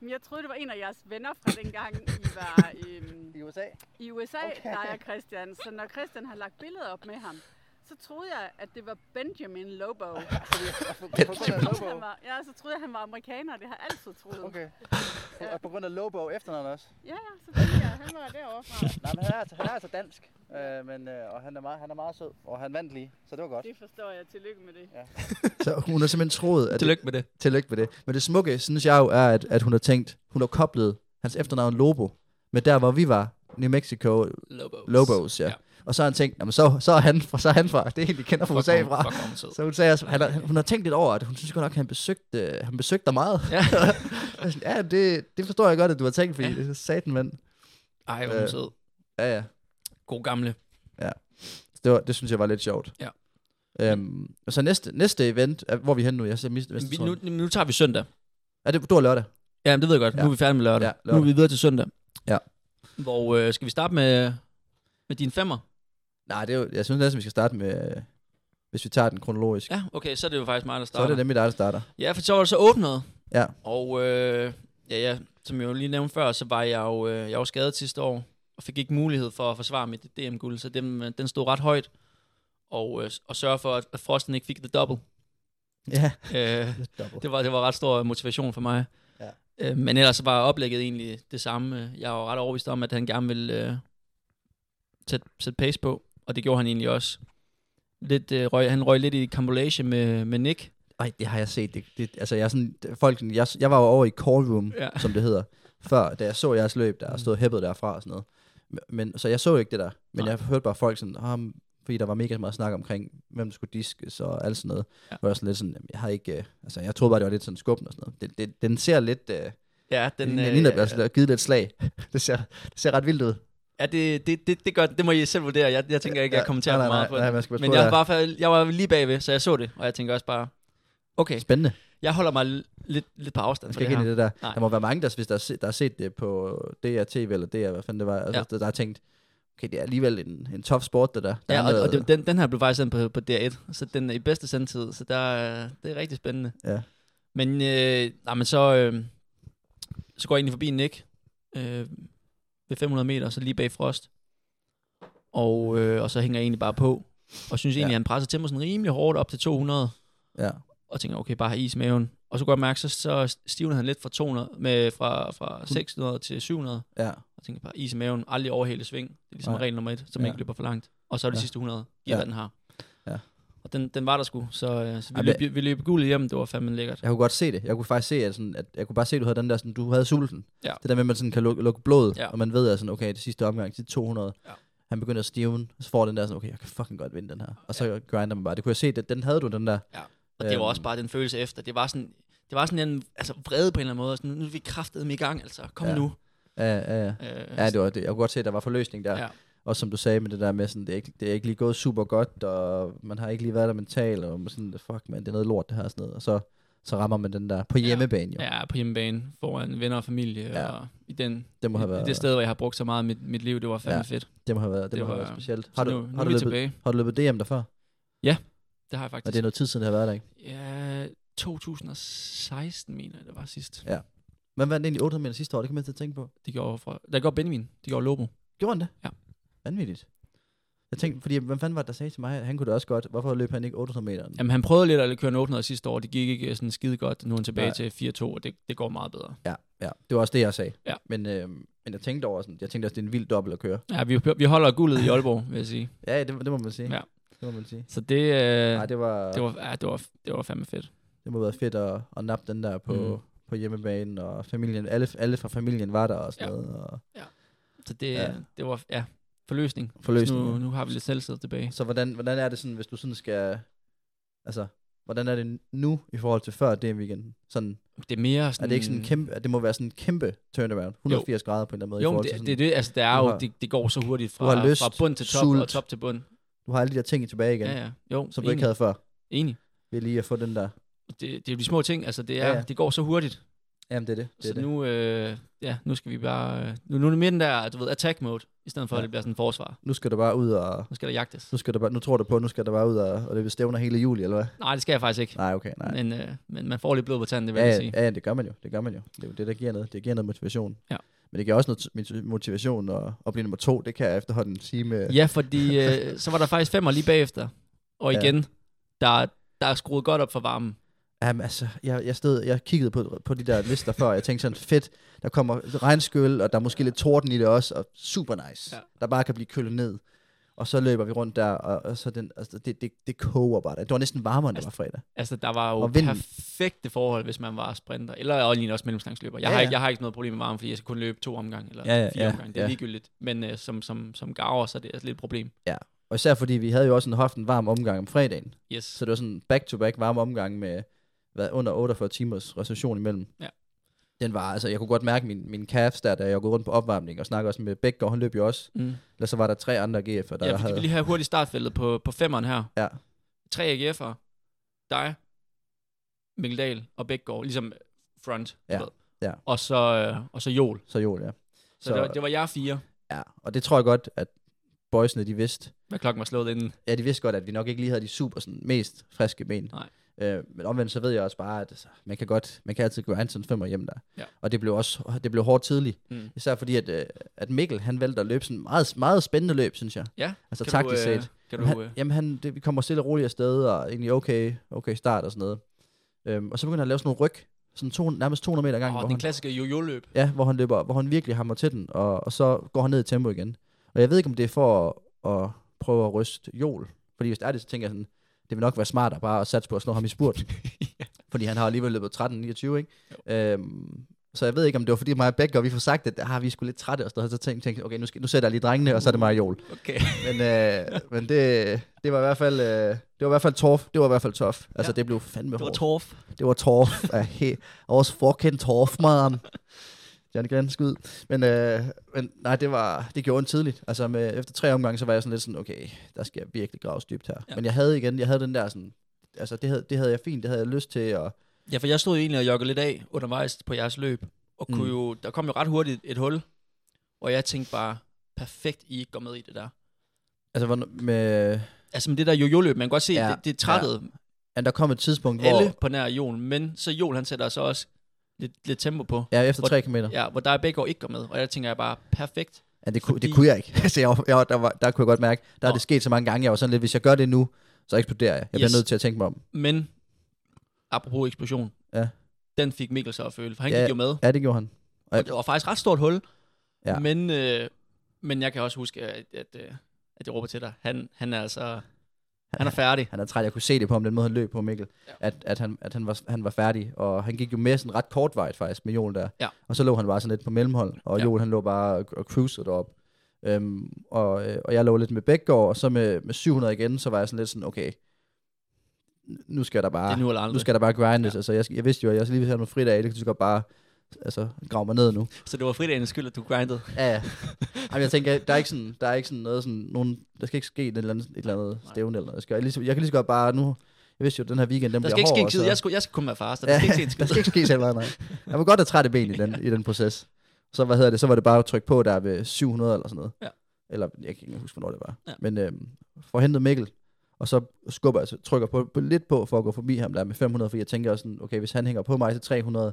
Men jeg troede, det var en af jeres venner fra dengang, I var øhm,
i USA?
i USA,
Okay.
okay. dig og Christian. Så når Christian har lagt billeder op med ham, så troede jeg, at det var Benjamin Lobo.
Fordi på, på grund af
Troede, han
Lobo.
var, ja, så troede jeg, han var amerikaner. Det har jeg altid troet.
Okay. På- Og på grund af Lobo efternavn også.
Ja, ja, så tænkte jeg, han var derovre fra.
Nej, men han er altså, han er altså dansk, øh, men, øh, og han er, meget, han er meget sød, og han vandt lige, så det var godt.
Det forstår jeg. Tillykke med det.
Så hun har simpelthen troet, at
Tillykke med det.
Tillykke med det. Men det smukke, synes jeg jo, er, at, at hun har tænkt, hun har koblet hans efternavn Lobo med der, hvor vi var, New Mexico
Lobos.
Lobos, ja.
Ja.
ja. Og så har han tænkt, jamen, så, så, er han fra, så er han fra, det er en, de kender fra USA fra.
Fuck, hvor er hun sød.
Så hun sagde også, han, har- hun har tænkt lidt over, at hun synes godt nok, at han besøgte, øh, han besøgte dig meget.
Ja.
Jeg sådan, ja, det, det forstår jeg godt, at du har tænkt, fordi ja. satan mand.
Ej, hvor er hun
Øh.
sød.
Ja, ja.
God gamle.
Så Det, var, det synes jeg var lidt sjovt.
Ja.
Øhm, og så næste, næste event, er- hvor er vi henne nu? Jeg ser mist, mist,
Vi, nu, nu tager vi søndag.
Er det, du har lørdag?
Ja, men det ved jeg godt. Ja. Nu
Ja.
er vi færdige med lørdag.
Ja,
Ja, nu er vi
lørdag.
videre til søndag.
Ja.
Hvor øh, skal vi starte med, med din femmer?
Nej, det er jo, jeg synes næsten, vi skal starte med, øh, hvis vi tager den kronologisk.
Ja, okay, så er det jo faktisk mig, der
Så er
starter.
det nemlig dig, der starter.
Ja, for så var det så åbnet.
Ja.
Og øh, ja, ja, som jeg jo lige nævnte før, så var jeg jo, øh, jeg var skadet sidste år, og fik ikke mulighed for at forsvare mit DM-guld, så dem, øh, den stod ret højt. Og, øh, og sørge for, at at Frosten ikke fik det double.
Ja.
Øh,
Double.
det, var, det var ret stor motivation for mig.
Ja.
Øh, men ellers så var oplægget egentlig det samme. Jeg var ret overbevist om, at han gerne ville øh, sætte, sætte pace på, og det gjorde han egentlig også. Lidt, øh, røg, han røg lidt i kambolage med, med Nick.
Ej, det har jeg set. Det, det, altså, jeg, er sådan, folk, jeg, jeg var jo over i call room,
Ja.
ja. som det hedder, før, da jeg så jeres løb, der stod hæppet derfra og sådan noget. Men, så jeg så jo ikke det der, men
Nej.
Nej. jeg hørte bare folk sådan, ah, men- fordi der var mega meget snak omkring, hvem der skulle diskes og alt sådan noget.
Ja.
Ja. Hvor jeg sådan lidt sådan, jamen, jeg har ikke, øh, altså jeg troede bare, det var lidt sådan skubben og sådan noget. Det, det, den ser lidt, øh, den,
Ja, den,
den, øh, ligner, der er givet lidt slag. det, ser, det ser ret vildt ud.
Ja, det, det, det, det, gør, det må I selv vurdere. Jeg, jeg tænker ikke, jeg
Ja,
kommenterer
nej,
for
nej,
meget på
nej,
det.
man skal passe
Men
på,
jeg
ja.
var, i hvert fald- jeg var lige bagved, så jeg så det, og jeg tænker også bare, okay,
Spændende.
jeg holder mig l- lidt, lidt på afstand
Man
fra
skal
det
ikke ind i
her.
det der.
Nej.
Nej. Der må være mange, der, hvis der, har se- der har set det på DR TV eller DR, hvad fanden det var, altså,
Ja.
der, der har tænkt, okay, det er alligevel en, en tough sport, det der. der
Ja,
er
og, og
noget-
den, den- den her blev faktisk sendt på, på DR1, så den er i bedste sendtid, så der, øh, det er rigtig spændende.
Ja.
Men, øh, nej, men så, øh, så går jeg egentlig forbi Nick øh, ved 500 meter, så lige bag Frost. Og, øh, og så hænger jeg egentlig bare på, og synes egentlig, ja.
Ja.
han presser tempoet sådan rimelig hårdt op til 200.
Ja.
og tænker, okay, bare have is i maven. Og så går jeg mærke, så, så stivner han lidt fra, 200, med, fra, fra 600 til 700,
ja.
og tænker bare is i maven, aldrig overhale sving. Det er ligesom
Nej.
regel nummer et, så man
Ja.
ikke løber for langt. Og så er det
Ja.
sidste 100, giver
Ja.
hvad den har.
Ja.
Og den, den var der sgu, så, øh, så vi,
Ej,
løb, vi løb guld hjem, det var fandme lækkert.
Jeg kunne godt se det. Jeg kunne faktisk se, at, sådan, at jeg kunne bare se, at du havde den der, sådan, du havde sulten.
Ja.
Det der med, at man sådan kan lukke, lukke blodet,
Ja.
ja. og man ved, at sådan, okay, det sidste omgang til 200.
Ja.
Han begynder at stivne, og så får den der sådan, okay, jeg kan fucking godt vinde den her. Og så ja. grinder man bare. Det kunne jeg se, at den havde du, den der.
Og det var
Øhm.
også bare den følelse efter. Det var sådan, det var sådan en altså, vrede på en eller anden måde. Sådan, nu er vi kraftedeme i gang, altså. Kom
Ja.
nu.
Ja, ja, ja.
Øh,
Ja, det var det. Jeg kunne godt se, at der var forløsning der.
Ja.
Ja. Også som du sagde med det der med, sådan, det, er ikke, det er ikke lige gået super godt, og man har ikke lige været der mentalt, og man sådan, fuck man, det er noget lort det her, og sådan noget. Og så, så rammer man den der på hjemmebane, jo. Ja.
Ja, på hjemmebane, foran venner og familie,
Ja.
og i, den,
Det må have
i- i
været-
det sted, hvor jeg har brugt så meget af mit, mit liv, det var fandme
Ja.
fedt.
Det må have været, det
Det
det
var-
må have været specielt.
Så
Har du,
nu,
har,
nu
du
er vi
løbet,
tilbage.
har du løbet DM der før?
Det har jeg faktisk.
Og det er noget tid siden, det har været der, ikke?
Ja, 2016 mener jeg, det var sidst.
Hvem vandt egentlig 800 meter sidste år? Det kan man til at tænke på.
Det gjorde, fra, der gjorde Benjamin, det gjorde Lobo.
Gjorde han det?
Ja.
Vanvittigt. Jeg tænkte, fordi hvem fanden var det, der sagde til mig, at han kunne da også godt. Hvorfor løb han ikke 800 meter?
Jamen han prøvede lidt at køre en 800 sidste år, det gik ikke øh, sådan skide godt. Nu er han tilbage
Nej.
til 4-2, og det, det går meget bedre.
Ja, ja. Det var også det, jeg sagde.
Ja.
Men, øh, men jeg tænkte over sådan, jeg tænkte også, det er en vild dobbelt at køre.
Ja, vi, vi holder guldet i Aalborg, vil jeg sige.
Ja, det, det må man sige.
Ja.
Det må man sige.
Så det, øh,
Nej, det var...
det, var, ja, det, var, det var fandme fedt.
det må have været fedt at, at nappe den der på,
Mm.
mm. på hjemmebanen, og familien, alle, alle fra familien var der og sådan
Ja.
ja. noget. Og
Så det, ja.
Ja.
det var ja, forløsning.
forløsning.
Nu,
ja.
nu har vi lidt selvsid tilbage.
Så hvordan, hvordan er det sådan, hvis du sådan skal... Altså, hvor- Hvordan er det nu i forhold til før DM-weekenden? Sådan,
Det er mere sådan...
er det ikke sådan en kæmpe, det må være sådan en kæmpe turnaround, 180 grader på en eller anden måde i
Mm. Jo, men
forhold
det,
til sådan,
det, er det, altså, der er
du
jo,
har-
det, det går så hurtigt
du
fra,
har lyst,
fra bund til top og
sult.
top til bund.
du har alle de der ting tilbage igen,
Ja, ja. Jo,
som du
enig.
ikke havde før,
enig.
ved lige at få den der,
Det, det er jo de små ting, altså det, er,
Ja,
ja,
ja.
ja. det går så hurtigt.
jamen det er det. det,
Så
er det.
nu, øh, ja, nu skal vi bare... øh, Nu, nu er det mere den der, du ved, attack mode, i stedet for,
Ja.
ja. at det bliver sådan en forsvar.
nu skal du bare ud og,
Nu skal der jagtes.
nu, skal du bare, nu tror du på, nu skal du bare ud og, og det vil stævne hele juli, eller hvad?
Nej, det skal jeg faktisk ikke.
Nej, okay, nej.
Men, øh, men man får lidt blod på tanden, det vil
Ja,
jeg
ja,
sige.
ja, ja, det gør man jo. Det gør man jo. Det er jo det, der giver noget. Det giver noget motivation.
Ja.
Men det giver også noget min- motivation og, at blive nummer to. Det kan jeg efterhånden sige med...
Ja, fordi øh, så var der faktisk femmer lige bagefter. Og
Ja.
igen, der, der er skruet godt op for varmen.
Jamen, altså, jeg, jeg, stod, jeg kiggede på, på de der lister før, og jeg tænkte sådan, fedt, der kommer regnskyld, og der er måske lidt torden i det også, og super nice, ja.
Ja.
der bare kan blive kølet ned. Og så løber vi rundt der, og, og så den, altså, det, det, det koger bare. Det var næsten varmere, end det var fredag.
Altså, der var jo
Og vinden.
perfekte forhold, hvis man var sprinter. Eller og lignende også mellemstangsløber. Jeg,
Ja,
ja, har
ja.
ikke, jeg har ikke noget problem med varmen, fordi jeg skal kun løbe to omgange, eller
Ja,
ja,
ja,
ja, fire
ja,
omgange. Det er
ja.
ligegyldigt. Men øh, som, som, som gaver, så er det altså lidt et problem.
Og især fordi vi havde jo også en, haft en varm omgang om fredagen.
Yes.
Så
Så,
det var sådan back-to-back varme omgang med hvad, under 48 timers recession imellem.
Ja.
Den var, altså, jeg kunne godt mærke min, min calves der, da jeg gået rundt på opvarmning og snakkede også med Bækgaard, han løb jo også.
mm.
Eller så var der tre andre GF'er, der
Ja, fordi vi
havde...
vil lige have hurtigt startfeltet på, på femmeren her.
Ja.
Tre AGF'er. Dig, Mikkel Dahl og Bækgaard. Ligesom front. du
Ja,
ved.
ja.
Og så, øh, og så Jol.
Så jo, ja.
Så, så det, var, det var jer fire,
Ja, og det tror jeg godt, at boysene, de vidste.
hvad klokken var slået inden.
Ja, de vidste godt, at vi nok ikke lige havde de super sådan, mest friske ben.
Nej.
Øh, men omvendt så ved jeg også bare, at altså, man kan godt, man kan altid grinde sådan femmer hjem der.
Ja.
Og det blev også, det blev hårdt tidligt.
Mm.
Især fordi, at, øh, at Mikkel, han valgte at løbe sådan meget, meget spændende løb, synes jeg.
Ja.
Altså
kan
taktisk
du, øh,
set.
Kan
Jamen,
du,
han,
øh,
jamen han, det, vi kommer stille og roligt afsted, og egentlig okay, okay start og sådan noget. Øhm, og så begynder han at lave sådan nogle ryg, sådan to, nærmest 200 meter gang.
åh, den klassiske jojo-løb.
Ja, hvor han løber, hvor han virkelig hammer til den, og, og så går han ned i tempo igen. Og jeg ved ikke, om det er for at, at prøve at ryste Jol. Fordi hvis det er det, så tænker jeg sådan, det vil nok være smartere bare at satse på at slå ham i spurt. Fordi han har alligevel løbet 13-29, ikke? Øhm, så jeg ved ikke, om det var fordi mig og Becker, vi får sagt, at ah, vi skulle lidt trætte og sådan noget. Så tænkte jeg, okay, nu, skal, nu sætter jeg lige drengene, og så er det mig og Jol.
Okay.
Men, øh, men det, det, var i hvert fald, øh, det var i hvert fald torf. Det var i hvert fald tof. Altså, ja.
Ja.
det blev fandme
Det var
hårdt.
Torf.
Det var torf. af he- Vores fucking torf, man. Johnny Glenn, skud. Men, øh, men nej, det, var, det gjorde ondt tidligt. Altså med, efter tre omgange, så var jeg sådan lidt sådan, okay, der skal jeg virkelig graves dybt her. Ja.
Ja.
Men jeg havde igen, jeg havde den der sådan, altså det havde, det havde jeg fint, det havde jeg lyst til. Og,
Ja, for jeg stod jo egentlig og joggede lidt af undervejs på jeres løb, og
Mm.
kunne jo, der kom jo ret hurtigt et hul, og jeg tænkte bare, perfekt, I ikke går med i det der.
altså, hvor, med,
Altså med det der jojo-løb, man kan godt se,
Ja,
ja, det, det trættede
ja, der kom et tidspunkt,
ja, alle
hvor...
på nær Jon, men så Jon han sætter så også lidt, lidt tempo på,
Ja, efter
hvor-
tre kilometer. Ja,
ja, hvor der er begge år ikke går med, og jeg tænker jeg bare, perfekt.
ja det, kunne, det
fordi-
kunne jeg ikke. altså, jeg, var- jeg, var- der, var, der kunne jeg godt mærke, der er
Nå.
det sket så mange gange, jeg var sådan lidt, hvis jeg gør det nu, så eksploderer jeg. Jeg bliver
Yes.
nødt til at tænke mig om.
Men, apropos eksplosion,
Ja.
den fik Mikkel så at føle, for han
Ja,
gik jo med.
Ja, det gjorde han. Og-
Og det var faktisk ret stort hul.
Ja.
Ja. Men, øh, men jeg kan også huske, at, at, øh, at jeg råber til dig. Han, han er altså... Han er færdig.
han er træt. Jeg kunne se det på ham, den måde han løb på Mikkel, ja.
Ja.
at, at, han, at han, var, han var færdig. Og han gik jo med sådan ret kortvejt faktisk med Joel der.
Ja.
Og så lå han bare sådan lidt på mellemhold, og ja.
Ja.
Joel han lå bare og, og cruisede derop. Øhm, og, øh, og jeg lå lidt med Bækgaard, og så med, med 700 igen, så var jeg sådan lidt sådan, okay, nu skal der bare,
Det er nu eller
nu
aldrig.
skal der bare grindes. Ja. Altså, jeg, skal- jeg vidste jo, at jeg lige ville have nogle fridage, det kunne så godt bare altså, grave mig ned nu.
Så det var fridagens skyld, at du grindede.
Ja, ja. Jamen, jeg tænker, der er ikke sådan, der er ikke sådan noget sådan, nogen, der skal ikke ske et eller andet, et eller andet stævne eller noget. Jeg, skal, jeg, lige, så- jeg kan lige så godt bare nu, jeg vidste jo, at den her weekend, den
Der
bliver
skal ikke ske
hård,
en skid.
så-
Jeg skal, jeg skal kun være far, så altså. der
Ja,
skal ikke ske en
der
skid.
skal ikke ske selv, nej. nej. Jeg var godt have trætte ben i den, i den proces. Så, hvad hedder det, så var det bare at trykke på der ved 700 eller sådan noget.
Ja.
Eller jeg kan ikke engang huske, hvornår det var.
Ja.
Men øhm, får hentet Mikkel, og så skubber jeg, så trykker på, på, lidt på for at gå forbi ham der med 500, fordi jeg tænker også sådan, okay, hvis han hænger på mig til 300,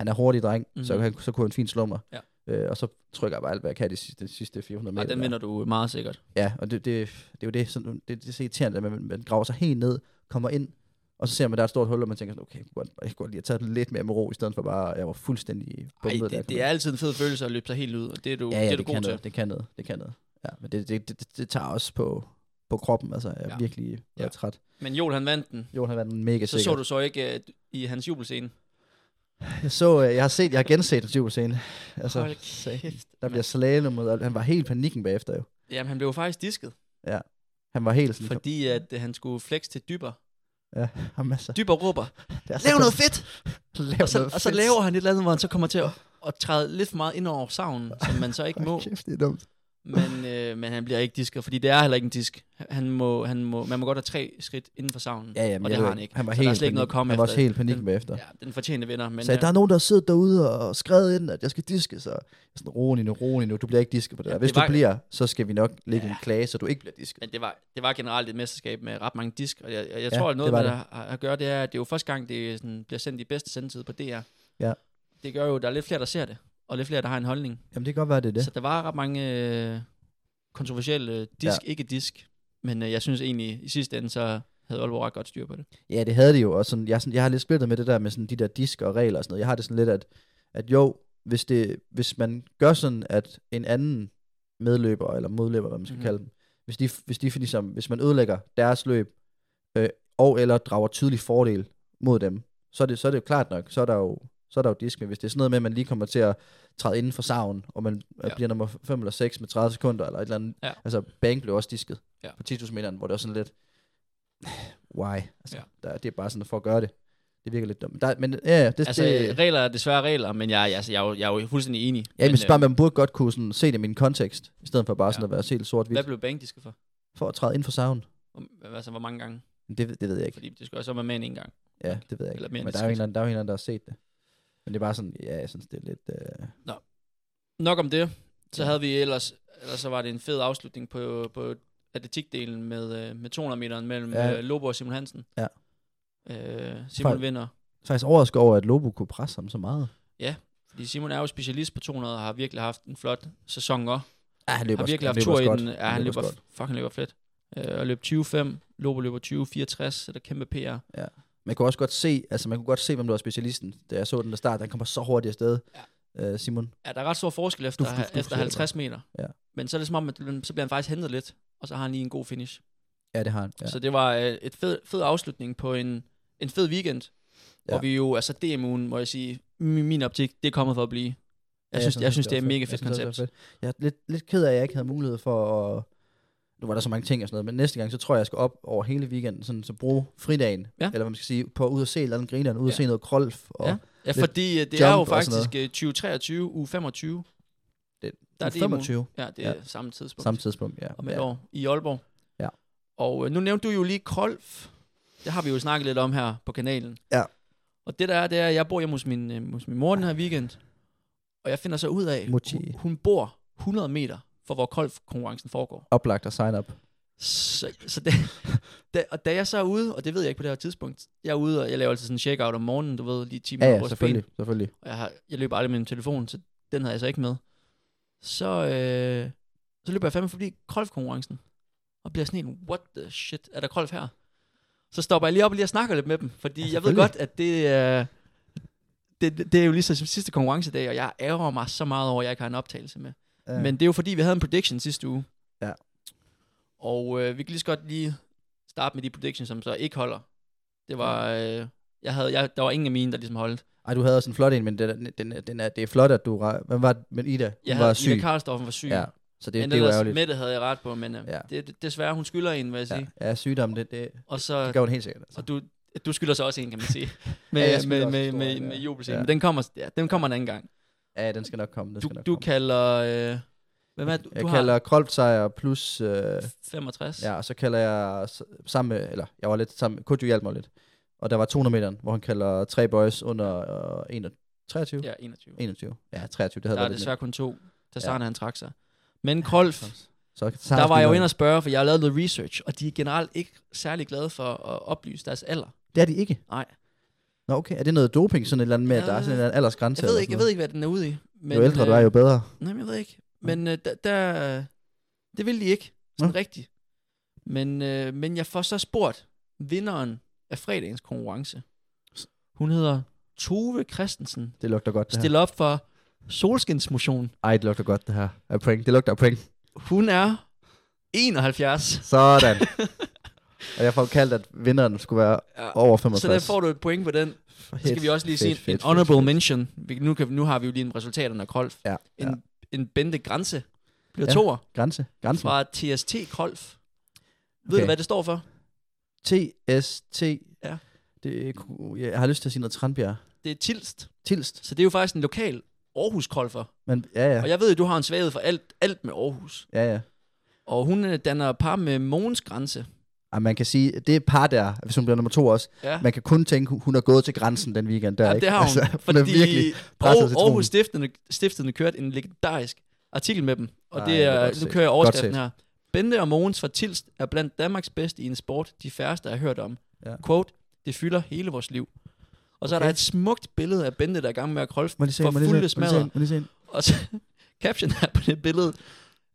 han er hurtig dreng, mm-hmm. så,
Mhm.
han, så kunne han fint slå mig.
Ja.
Øh, og så trykker jeg bare alt, hvad jeg kan de sidste, de sidste 400 meter.
Ej, den
der.
vinder du meget sikkert.
Ja, og det, det, det er jo det, sådan, det, det er så irriterende, at man, man graver sig helt ned, kommer ind, og så ser man, der er et stort hul, og man tænker sådan, okay, jeg kunne godt, jeg kunne godt lige have taget det lidt mere med ro, i stedet for bare, at jeg var fuldstændig
Ej,
bumpet. da
det,
jeg kom
det er
ind.
altid en fed følelse at løbe sig helt ud, og det er du,
ja, ja,
det er
det,
du
det
god
kan
til.
noget, det kan noget, det kan noget. Ja, men det, det, det, det, det tager også på, på kroppen, altså, jeg er ja.
Ja.
virkelig jeg er
Ja.
træt.
Men Joel, han vandt den.
Jon har været mega
Så
sikker.
så du så ikke øh, i hans jubelscene.
Jeg, så, øh, jeg har set, jeg har genset det type scene. Altså,
Hold
satan.
kæft.
der
mand.
bliver slalommet, og han var helt i panikken bagefter jo.
Jamen, han blev jo faktisk disket,
Han var helt sådan,
fordi at øh, han skulle flex til dyber.
Ja, har masser.
Dyber råber,
altså, Det er så
lav
godt.
noget fedt!
Lav
Og så,
noget
og så
fedt.
laver han et eller andet, hvor han så kommer til at, at træde lidt for meget ind over savnen, som man så ikke må.
Hold Kæft, det er dumt.
Men, øh, men han bliver ikke disker, fordi det er heller ikke en disk. Han må, han må, man må godt have tre skridt inden for savnen,
Ja, ja, men
og det
jeg
har
ved-
han ikke.
Han var
så
helt
der er slet ikke noget at
panik.
komme
Han var
efter.
også helt panik
Den-
bagefter. Ja,
Ja, den fortjente vinder, men
men sagde,
øh,
der er nogen, der har siddet derude og skrevet ind, at jeg skal diske, så jeg er sådan, rolig nu, rolig nu, du bliver ikke disket på det der. Hvis
det
du
var-
bliver, så skal vi nok lægge en klage, så du ikke bliver disket.
men det var, det var generelt et mesterskab med ret mange disk, og jeg, jeg, jeg
Ja,
ja, tror, at noget
det var
med det. At, at gøre, det er, at det er jo første gang, det sådan, bliver sendt i bedste sendetid på DR.
Ja.
Det gør jo, at der er lidt flere, der ser det, og lidt flere, der har en holdning.
Jamen det kan godt være, det er
Ja.
det.
Så der var ret mange øh, kontroversielle disk, ja. ikke disk, men øh, jeg synes egentlig, i sidste ende, så havde Aalborg ret godt styr på det.
Ja, det havde de jo, og sådan, jeg, er sådan, jeg har lidt splittet med det der med sådan, de der disker og regler og sådan noget. Jeg har det sådan lidt, at, at jo, hvis, det, hvis man gør sådan, at en anden medløber, eller modløber, hvad man skal mm.
Mhm.
kalde dem, hvis, de, hvis, de, ligesom, hvis man ødelægger deres løb, øh, og eller drager tydelig fordel mod dem, så er, det, så er det jo klart nok, så er der jo, så er der jo disk, men hvis det er sådan noget med, at man lige kommer til at træde inden for savn, og man ja.
Ja.
bliver nummer 5 eller 6 med 30 sekunder, eller et eller andet,
Ja.
altså Bang blev også disket
Ja.
på 10.000 meteren, hvor det var sådan lidt, why? Altså,
Ja.
der, det er bare sådan for at gøre det. Det virker lidt dumt. Men Der, men ja, ja, det,
Altså,
altså, det,
øh, regler er desværre regler, men jeg, altså, jeg, er jo- jeg er jo fuldstændig enig.
ja, men,
øh,
bare, man burde godt kunne sådan, se det i min kontekst, i stedet for bare sådan
Ja.
at være helt
øh, Hvad
sort-hvidt,
blev bankdisket for?
for at træde ind for savn.
Om- Altså, hvor mange gange?
Det, det ved jeg ikke.
Fordi det skal også være med en en gang.
Ja, det ved jeg ikke.
Eller mere
Men
end
der
det
er, jo en
skal.
eller anden, der er jo en eller anden, der har set det. Men det er bare sådan, ja, jeg synes, det er lidt... Øh,
Nok om det. Så
Ja.
ja. havde vi ellers, ellers så var det en fed afslutning på, på atletikdelen med, øh, med 200 meteren mellem
Ja.
ja. øh, Lobo og Simon Hansen.
Ja.
Øh, Simon
Fejl.
vinder,
faktisk overrasket over, at Lobo kunne presse ham så meget.
fordi Simon er jo specialist på 200 og har virkelig haft en flot sæson også.
Ja, han løber,
Har
også-
virkelig
han
haft
løber
tur
også
i
godt.
den. Ja, han løber,
også godt.
fuck, han løber fedt. Øh, og løb 20-5, Lobo løber 20-64, så der er kæmpe PR.
Man kunne også godt se, altså man kunne godt se, hvem der var specialisten, da jeg så den der start. Han kommer så hurtigt afsted, ja. øh, Simon.
Ja, der er ret stor forskel efter,
Duf,
duf,
duf, duf,
duf, efter
siger det
50 meter.
Ja.
Men så er det som om, at så bliver han faktisk hentet lidt, og så har han lige en god finish.
Ja, det har han. Ja.
Ja. Så det var øh, et fed, fed afslutning på en, en fed weekend, ja.
Ja.
hvor vi jo, altså DM-ugen, må jeg sige, i min optik, det er kommet for at blive.
Ja,
Jeg synes,
synes
jeg synes
også,
det er et
var
mega
Jeg
fedt
synes også, det var
koncept.
fedt. Jeg er lidt, lidt ked af, at jeg ikke havde mulighed for at... Nu var der så mange ting og sådan noget, men næste gang, så tror jeg, jeg skal op over hele weekenden, sådan, så bruge fridagen,
Ja.
eller hvad man skal sige, på at ud og se et eller andet grineren, ud og
Ja.
se noget krolf, og
Ja. Ja,
lidt
fordi øh, det
jump
er jo
og sådan
faktisk øh, 2023, uge 25.
Det-
der er
ja. 25
Ja, det er
Ja.
ja. samme tidspunkt.
samme tidspunkt. Ja.
om et
ja.
ja. år i Aalborg.
Ja.
Og øh, nu nævnte du jo lige Kolf. Det har vi jo snakket lidt om her på kanalen.
Ja.
Og det der er, det er, at jeg bor hjemme hos min, øh, hos min mor den her weekend. Og jeg finder så ud af,
Mochi.
hun, hun bor 100 meter fra, hvor Kolf-konkurrencen foregår.
Oplagt at sign up.
Så, så det, da, og da jeg så er ude, og det ved jeg ikke på det her tidspunkt, jeg er ude, og jeg laver altid sådan en check-out om morgenen, du ved, lige 10
Ja,
minutter
ja,
på
selvfølgelig. selvfølgelig.
og jeg, har, jeg løber aldrig med min telefon, så den havde jeg så ikke med. Så, øh, så løber jeg fandme forbi golfkonkurrencen, og bliver sådan en, what the shit, er der golf her? Så stopper jeg lige op og lige og snakker lidt med dem, fordi
Ja,
ja, jeg ved godt, at det, øh, det, det, det er jo lige så som sidste konkurrencedag, og jeg ærger mig så meget over, at jeg ikke har en optagelse med.
Ja.
Men det er jo fordi, vi havde en prediction sidste uge.
Ja.
Og øh, vi kan lige så godt lige starte med de predictions, som så ikke holder. Det var, øh, jeg havde, jeg, der var ingen af mine, der ligesom holdt.
Ej, du havde også en flot en, men den, er- den, er- den er, det er flot, at du... ra- Hvem var det? Men Ida,
Jeg
hun
havde,
var syg.
Ida Karlstoffen var syg.
ja, så det,
men
det er jo
ellers,
ærgerligt.
Mette havde jeg ret på, men øh,
Ja.
ja. det, det, desværre, hun skylder en, vil jeg sige.
Ja, ja, sygdom, det, det,
Og,
det
så,
gør hun helt sikkert. Altså.
og du, du skylder så også en, kan man sige. med,
Ja, jeg
ja,
skylder
med,
også
med,
en stor
med,
en,
med
ja.
jubelscenen.
Ja.
Men den kommer, ja, den kommer en anden gang.
Ja, den skal nok komme. Den
Du,
skal nok
du
komme.
kalder... Øh, hvem er det, du,
Jeg
du
kalder Krolf sejr plus... Øh,
har? 65.
Ja, og så kalder jeg s- sammen med, eller jeg var lidt sammen med, Kodjo hjalp mig lidt. Og der var 200 meter, hvor han kalder tre boys under øh, 21, 23? Ja.
ja 21.
21. Ja, 23, det havde
Der er
været lidt
desværre kun to.
Ja.
Der ja. han trak sig. Men Krolf,
nemt. Så, så
der var jeg jo inde og spørge, for jeg har lavet noget research, og de er generelt ikke særlig glade for at oplyse deres alder.
Det er de ikke.
Nej.
Nå, okay. Er det noget doping, sådan et eller andet med, at der er sådan en eller anden aldersgrænse?
Jeg ved
eller
ikke, jeg
sådan
ved ikke hvad den er ude i. Men, øh,
noget? Jo ældre du er, jo bedre.
Nej, men jeg ved ikke. Men øh, der, der, det ville de ikke.
Nå.
Sådan rigtigt. Men, øh, men jeg får så spurgt vinderen af fredagens konkurrence. Hun hedder Tove Christensen.
Det lugter godt, det her.
Stiller op for solskinsmotion.
Ej, det lugter godt, det her. Af point. Det lugter af point.
Hun er 71.
Sådan. og jeg får kaldt, at vinderen skulle være
Ja.
over
Så
65.
der får du et point på den. Så skal vi også lige sige en, en
honor
honorable mention. Vi, nu, kan, nu har vi jo lige en resultaterne af Krolf.
Ja,
En,
ja.
en Bente Grænse bliver
Ja.
toer
Grænse. Grænsen.
fra TST Krolf. Ved
Okay.
du, hvad det står for?
TST.
Ja.
Det, kunne- jeg har lyst til at sige noget Tranbjerg.
Det er Tilst.
Tilst.
Så det er jo faktisk en lokal Aarhus-krolfer.
Men ja, ja.
Og jeg ved, at du har en svaghed for alt, alt med Aarhus.
Ja, ja.
Og hun øh, danner par med Mogens Grænse.
Og man kan sige, at det par der, hvis hun bliver nummer to også,
Ja.
man kan kun tænke, hun har gået til grænsen den weekend der,
Ja,
ikke?
det har hun.
Altså,
Altså,
hun
fordi
er virkelig presset til
Aarhus,
tronen.
Aarhus stifterne, stifterne kørte en legendarisk artikel med dem. Og
Ej,
det
det er
er,
godt
nu
set.
kører jeg
Godt
overskriften
set.
her. Bente og Mogens fra Tilst er blandt Danmarks bedste i en sport, de færreste har hørt om.
Ja.
Ja. Quote, det fylder hele vores liv. Og så er
Okay.
der et smukt billede af Bente, der er i gang med at krølfe
Må lige se,
for
må lige se, må
fulde
lige se, må
smadder.
lige se.
Og så caption her på det billede,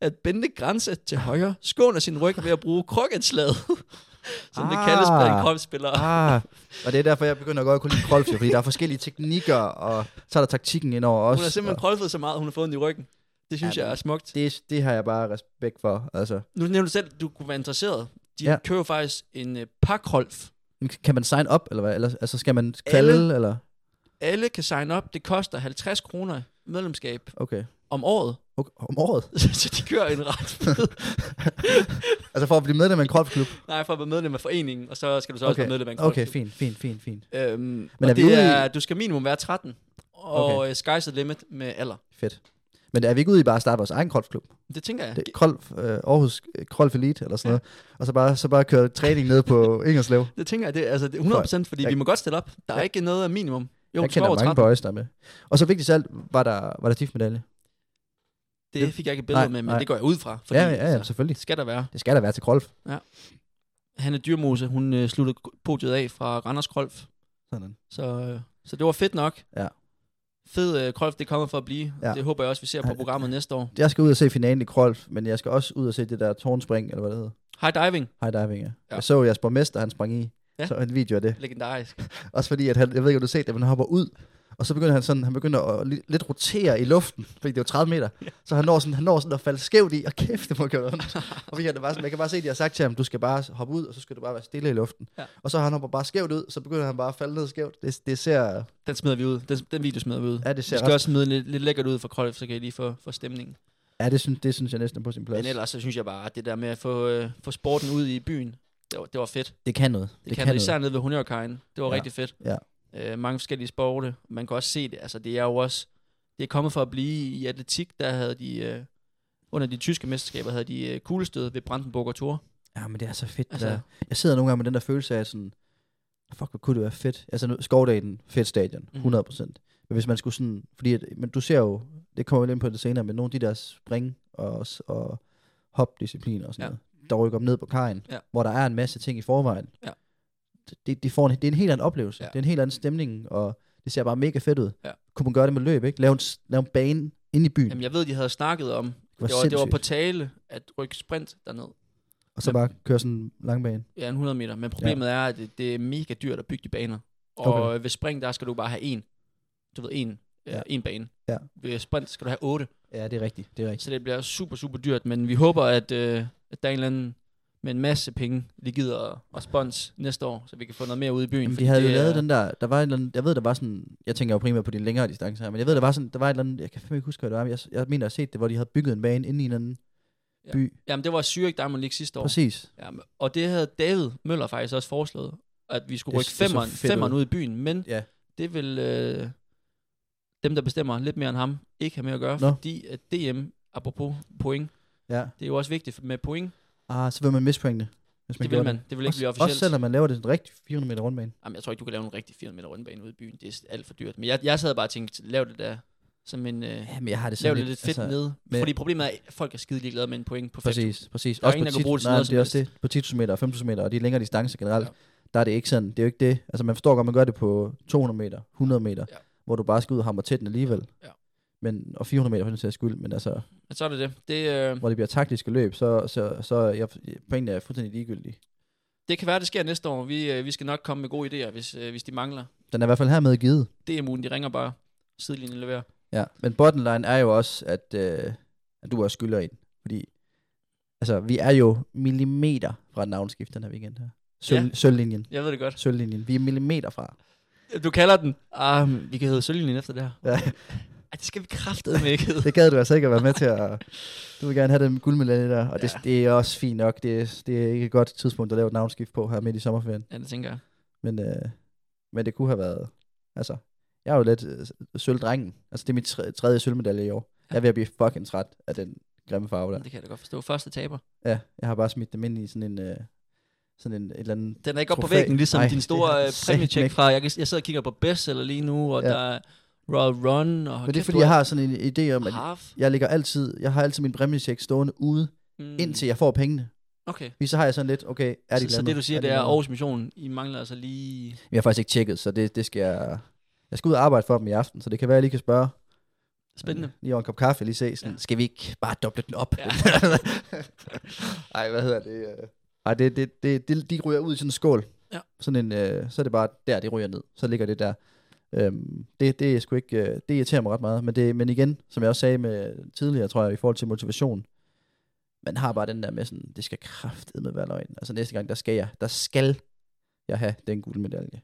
at Bente Grænse til højre skåner sin ryg ved at bruge kroketslaget, som ah. det kaldes
Ah.
blandt krolspillere. Ah.
Ah, og det er derfor, jeg begynder godt at kunne lide golf, jo, fordi der er forskellige teknikker, og så er der taktikken indover også.
Hun har simpelthen
og
krolfet så meget, hun har fået den i ryggen. Det synes
Ja,
ja, jeg er smukt.
det, det har jeg bare respekt for. Altså,
Nu nævnte du selv, at du kunne være interesseret. De
Ja.
ja. kører jo faktisk en uh, pakrolf.
Men kan man sign up, eller hvad? Eller, altså, skal man kalde, Alle. eller?
Alle kan signe op. Det koster 50 kroner medlemskab
Okay.
om året.
okay. Om året?
så de kører en ret fed...
Altså for at blive medlem af en golfklub?
Nej, for at være medlem af foreningen, og så skal du så også
Okay,
være medlem af en
okay
krolfklub.
fint, fint, fint, fint.
Øhm,
Men
Men
er
og
vi
det
ude i-
er, du skal minimum være 13. Og
Okay.
okay. sky's the limit med alder.
Fedt. Men er vi ikke ude i bare at starte vores egen golfklub?
Det tænker jeg.
Det er golf, øh, Aarhus øh, Golf Elite eller sådan noget. Og så bare, så bare køre træning ned på Ingerslev.
Det tænker jeg, det, er- altså det er 100%, fordi jeg,
Jeg-
vi må godt stille op. Der er ikke noget af minimum. Jo,
jeg
du skal over
kender mange
13.
boys, der er med. Og så vigtigst af alt, var der, var der stiftmedalje.
Det fik jeg ikke et billede
Nej,
med, men
nej.
det går jeg ud fra. Fordi,
Ja, ja, ja,
altså,
selvfølgelig.
det skal der være.
Det skal der være til golf.
Hanne Dyrmose, hun øh, sluttede podiet af fra Randers Krolf.
Sådan.
Så, øh, så det var fedt nok.
Ja.
Fed øh, Krolf, det kommer for at blive.
Ja.
Ja. Det håber jeg også, vi ser
Ja.
på programmet næste år.
Jeg skal ud og se finalen i golf, men jeg skal også ud og se det der tårnspring, eller hvad det hedder.
High diving,
High diving, ja.
Ja.
Jeg så Jasper Mester, han sprang i.
Ja.
Så en video af det.
legendarisk.
Også fordi, at han, jeg ved ikke, om du har set det, men han hopper ud, og så begynder han sådan, han begynder at li- lidt rotere i luften, fordi det er jo 30 meter. Så han når sådan, han når sådan at falde skævt i, og kæft, det må gøre ondt. og vi kan, bare, sådan- man kan bare se, at de har sagt til ham, du skal bare hoppe ud, og så skal du bare være stille i luften.
Ja.
Og så han hopper bare skævt ud, så begynder han bare at falde ned skævt. Det, det ser,
Den smider vi ud. Den, den video smider vi ud.
ja, det ser
Vi skal
ret,
også smide lidt, lidt lækkert ud for Krolf, så kan I lige få, få stemningen.
ja, det synes, det synes jeg næsten er på sin plads.
Men ellers så synes jeg bare, at det der med at få, øh, få sporten ud i byen, det var, det var fedt.
det kan noget.
Det, det kan, kan især nede ved Honørkajen. Det var ja.
Ja.
rigtig fedt.
Ja.
Øh, mange forskellige sporte. Man kan også se det. Altså, det er jo også... Det er kommet for at blive i atletik. Der havde de... Øh, under de tyske mesterskaber havde de øh, kuglestød ved Brandenburger Tor.
Ja, men det er så fedt. Altså,
Altså-
der. Jeg sidder nogle gange med den der følelse af sådan, fuck, hvor kunne det være fedt. Altså, nu, Skovdagen, fedt stadion,
Mhm.
100 procent. Men hvis man skulle sådan, fordi, at, men du ser jo, det kommer vi lidt ind på det senere, men nogle af de der spring og, s- og hopdiscipliner og sådan
Ja.
ja. noget, der rykker dem ned på kajen, ja.
Ja.
hvor der er en masse ting i forvejen.
Ja.
Det, de får en, det er en helt anden oplevelse. Ja.
Ja.
Det er en helt anden stemning, og det ser bare mega fedt ud.
Ja.
Kunne man gøre det med løb, ikke? Lave en, s- lave en bane ind i byen,
Jamen, jeg ved, de havde snakket om... Mm.
Hvor
Det var, det var
sindssygt.
på tale at rykke sprint derned.
og så bare køre sådan en langbane.
Ja, en 100 meter. Men problemet ja. er, at det, det er mega dyrt at bygge de baner. Og
Okay.
okay. ved spring, der skal du bare have en. Du ved, en,
Ja.
ja. en bane.
Ja.
Ved sprint skal du have otte.
Ja, det er rigtigt. Det er rigtigt.
Så det bliver super, super dyrt, men vi håber, at, øh, at der er en eller anden med en masse penge, lige gider at- at spons næste år, så vi kan få noget mere ud i byen.
Jamen,
fordi
de havde jo
det er-
lavet den der, der var en eller anden, jeg ved, der var sådan, jeg tænker jo primært på de længere distancer her, men jeg ved, der var sådan, der var et eller andet, jeg kan fandme ikke huske, hvad det var, men jeg, jeg mener, jeg har set det, hvor de havde bygget en bane inde i en eller anden ja.
Ja.
by.
Jamen, det var Zürich Diamond League sidste år.
Præcis.
Jamen, og det havde David Møller faktisk også foreslået, at vi skulle
Det-
rykke
det så
femmeren,
fedt ud.
femmeren ud i byen, men
Ja.
det vil øh, dem, der bestemmer lidt mere end ham, ikke have med at gøre,
Nå.
fordi at DM, apropos point,
Ja.
det er jo også vigtigt med point.
Ah, så vil man misse pointene. Hvis
Det
gjorde
vil man. Det vil ikke blive officielt.
Også selvom man laver det sådan en rigtig 400 meter rundbane.
Jamen, jeg tror ikke, du kan lave en rigtig 400 meter rundbane ude i byen. Det er alt for dyrt. Men jeg, jeg sad bare og tænkte, lav det der som en... Øh,
Ja, men jeg har det
lav
sådan
det lidt fedt altså, nede.
med-
Fordi problemet er, at folk er skide ligeglade med en point på fem.
Præcis, præcis.
Der er ingen, der kan bruge det til
nej,
noget
det er
som
også det. På 10.000 meter og 5.000 meter og de længere distancer generelt, ja.
Ja.
der er det ikke sådan. Det er jo ikke det. Altså man forstår godt, man gør det på 200 meter, 100 meter, ja.
Ja.
hvor du bare skal ud og hamre til den alligevel.
Ja.
Men, og 400 meter for den sags skyld, men altså,
Men så er det det. Det, øh,
hvor det bliver taktiske løb, så, så, så er jeg, pointene er fuldstændig ligegyldige.
det kan være, det sker næste år. Vi, øh, vi skal nok komme med gode idéer, hvis, øh, hvis de mangler.
Den er i hvert fald hermed givet.
Det er muligt. De ringer bare. Sidelinjen leverer.
Ja. Men bottom line er jo også, at, øh, at du er skylder i den. Fordi altså, vi er jo millimeter fra et navnskift den her weekend her. Sølv, ja.
Ja.
Sølvlinjen.
Jeg ved det godt.
Sølvlinjen. Vi er millimeter fra.
Du kalder den. Ah, men vi kan hedde Sølvlinjen efter det her.
Ja.
Ej, det skal vi kraftedeme ikke hedde.
Det gad du altså ikke at være med til. At, du vil gerne have den guldmedalje der, og det, ja. det er også fint nok. Det, er- det er ikke et godt tidspunkt at lave et navnskift på her midt i sommerferien.
Ja, det tænker jeg.
Men, øh, men det kunne have været... Altså, jeg er jo lidt øh, sølvdrengen. Altså, det er mit tre- tredje sølvmedalje i år. Jeg er ved at blive fucking træt af den grimme farve der.
Det kan jeg da godt forstå. Første taber.
Ja, jeg har bare smidt dem ind i sådan en... Øh, sådan en, et eller andet...
Den er ikke oppe på
Trofæ.
væggen, ligesom
Nej,
din
det
store
har
øh,
jeg satme
præmiecheck
ikke.
fra. Jeg, kan, jeg sidder og kigger på bestseller lige nu, og
Ja.
der er Royal Run. Og
Men det er,
kæft,
fordi
du
jeg har sådan en idé om, at
Half.
jeg ligger altid, jeg har altid min præmiecheck stående ude,
Mm.
indtil jeg får pengene.
Okay.
Fordi så har jeg sådan lidt, okay, er de
Så, så
glemmer?
det du siger,
Er de
det er
glemmer?
Aarhus Mission. I mangler altså lige...
Jeg har faktisk ikke tjekket, så det, det skal jeg... Jeg skal ud og arbejde for dem i aften, så det kan være, at jeg lige kan spørge.
Spændende.
øh, Lige over en kop kaffe, lige se sådan,
Ja.
ja. skal vi ikke bare doble den op?
Ja.
Ja. Ej, hvad hedder det? øh? Ej, det, det, det, det, de ryger ud i sådan en skål.
Ja.
Sådan en, øh, så er det bare der, det ryger ned. Så ligger det der. Øhm, det, det, er sgu ikke, øh, det irriterer mig ret meget. Men, det, men igen, som jeg også sagde med tidligere, tror jeg, i forhold til motivation, man har bare den der med sådan, det skal kraftedme være løgn. Altså næste gang, der skal jeg, der skal jeg have den gule medalje.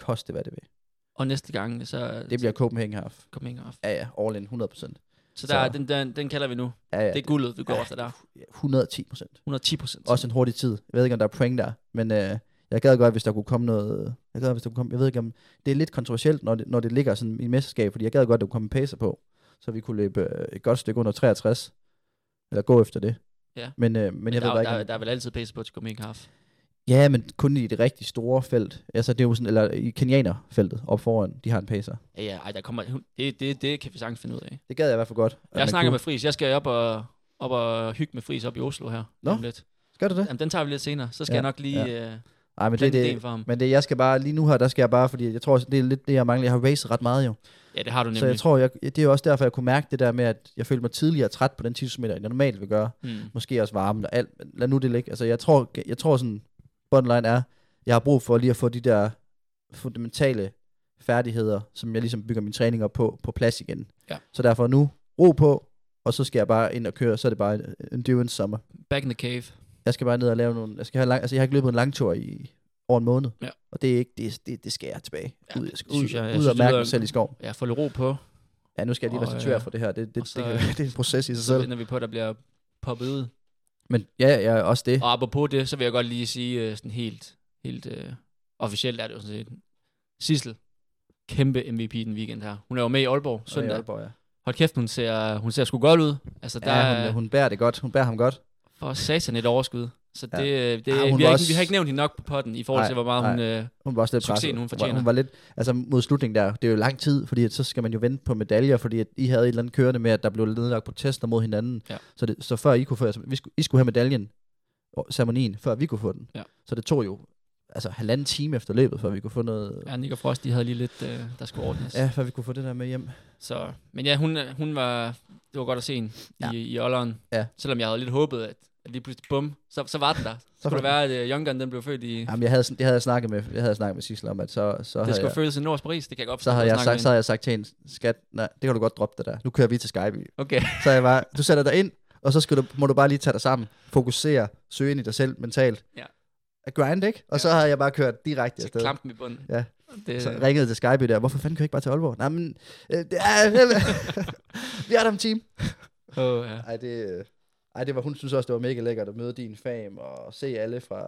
Koste hvad det vil.
Og næste gang, så...
Det bliver Copenhagen Half.
Kom ikke off.
Ja, ja, all in, 100%.
Så der, er-
Så-
den, den, den kalder vi nu.
Ja, ja,
Det er guldet, du går
Ja.
efter der.
Ja, 110 procent.
110 procent.
Også en hurtig tid. Jeg ved ikke, om der er prank der, men øh, jeg gad godt, hvis der kunne komme noget... Jeg gad, hvis der kunne komme... Jeg ved ikke, om... Det er lidt kontroversielt, når det, når det ligger sådan i et mesterskab, fordi jeg gad godt, at der kunne komme en pacer på, så vi kunne løbe øh, et godt stykke under 63. Eller gå efter det.
Ja.
Men, øh, men, men jeg
der,
ved
er-
bare ikke,
der,
om-
der, er vel altid pace på til Copenhagen Half.
Ja, men kun i det rigtig store felt. Altså, det er jo sådan... Eller i kenianerfeltet op foran, de har en pacer.
Ja, ja, ej, der kommer, hun- det, det, det kan vi sagtens finde ud af.
Det gad jeg i hvert fald godt. at
Jeg
man
snakker
kunne.
med Fris. Jeg skal op og, op og hygge med Fris op i Oslo her.
Nå.
om Lidt.
Skal du det?
Jamen, den tager vi lidt senere. Så skal ja,
Ja,
jeg nok lige ja. øh,
Nej, men det,
plante
det,
ideen for ham.
men det, jeg skal bare, lige nu her, der skal jeg bare, fordi jeg tror, det er lidt det, jeg mangler. Jeg har racet ret meget jo.
Ja, det har du nemlig.
Så jeg tror, jeg, det er jo også derfor, jeg kunne mærke det der med, at jeg følte mig tidligere træt på den 10 meter, end jeg normalt vil gøre.
mm.
Måske også varmen og alt. Men lad nu det ligge. Altså, jeg tror, jeg tror sådan, bottom line er, jeg har brug for lige at få de der fundamentale færdigheder, som jeg ligesom bygger min træning op på, på plads igen.
Ja.
Så derfor nu, ro på, og så skal jeg bare ind og køre, så er det bare en endurance sommer.
Back in the cave.
Jeg skal bare ned og lave nogle, jeg skal have lang, altså jeg har ikke løbet en langtur i over en måned.
Ja.
Og det er ikke, det, det, det skal jeg tilbage.
Ja,
ud,
det
jeg skal, ud,
synes jeg- jeg
ud
synes,
og
det
mærke
lyder-
mig selv i skoven.
Ja, få lidt ro på.
Ja, nu skal jeg lige
Og,
restituere
øh,
for det her. Det, det,
og så,
det, kan,
øh,
det er en proces i sig
Så
selv.
ender vi på, at der bliver poppet ud.
Men ja, ja, også det.
Og apropos det, så vil jeg godt lige sige øh, sådan helt, helt øh, officielt er det jo sådan set. Sissel, kæmpe MVP den weekend her. Hun er jo med i Aalborg
Og i
søndag.
Aalborg, ja.
Hold kæft, hun ser, hun ser sgu godt ud. Altså, der
ja
ja,
hun,
hun, hun...
hun bærer det godt. Hun bærer ham godt.
for satan et overskud. Så det,
Ja.
ja. det,
Ah, hun
vi, har
var
ikke,
også-
vi har ikke nævnt hende nok på potten i forhold
Nej,
til, hvor meget
nej.
hun... Øh,
Hun var også lidt
Succesen,
presset.
hun
Hun
fortjener.
var, hun var lidt, altså mod slutningen der, det er jo lang tid, fordi at, så skal man jo vente på medaljer, fordi at I havde et eller andet kørende med, at der blev nedlagt protester mod hinanden.
Ja.
Så, det, så før I kunne få, altså, vi skulle, I skulle have medaljen, og ceremonien, før vi kunne få den.
Ja.
Så det tog jo altså halvanden time efter løbet, før vi kunne få noget...
ja, Nick og øh, Frost, de havde lige lidt, øh, der skulle ordnes.
Ja, før vi kunne få det der med hjem.
Så, men ja, hun, øh, hun var, det var godt at se hende ja.
Ja.
i, i ålderen.
Ja.
Selvom jeg havde lidt håbet, at, at lige pludselig, bum, så, så var den der. Så skulle det
var
være, at uh, Young Gun, den blev født i... Ja,
Jamen, jeg havde, sådan- det havde jeg snakket med, jeg havde snakket med Sissel om, at så, så havde
det skulle
jeg,
fødes i Nords Paris, det kan jeg godt
så
forstå.
havde, jeg
snakke
sagt,
med
så havde jeg sagt til hende, skat, nej, det kan du godt droppe det der. Nu kører vi til Skyby.
hende. Okay,
Så jeg var, du sætter dig ind, og så skal du, må du bare lige tage dig sammen, fokusere, søge ind i dig selv mentalt.
Ja.
At Grind, ikke? Og
Ja.
ja. så havde jeg bare kørt direkte
så øh.
afsted.
klampen i bunden.
Ja.
Det,
Så ringede til Skyby der, hvorfor fanden kører jeg ikke bare til Aalborg? Nej, men, øh, det er, vi er der om en time.
åh, ja.
Ej, det, øh, ej, det var, hun synes også, det var mega lækkert at møde din fam, og se alle fra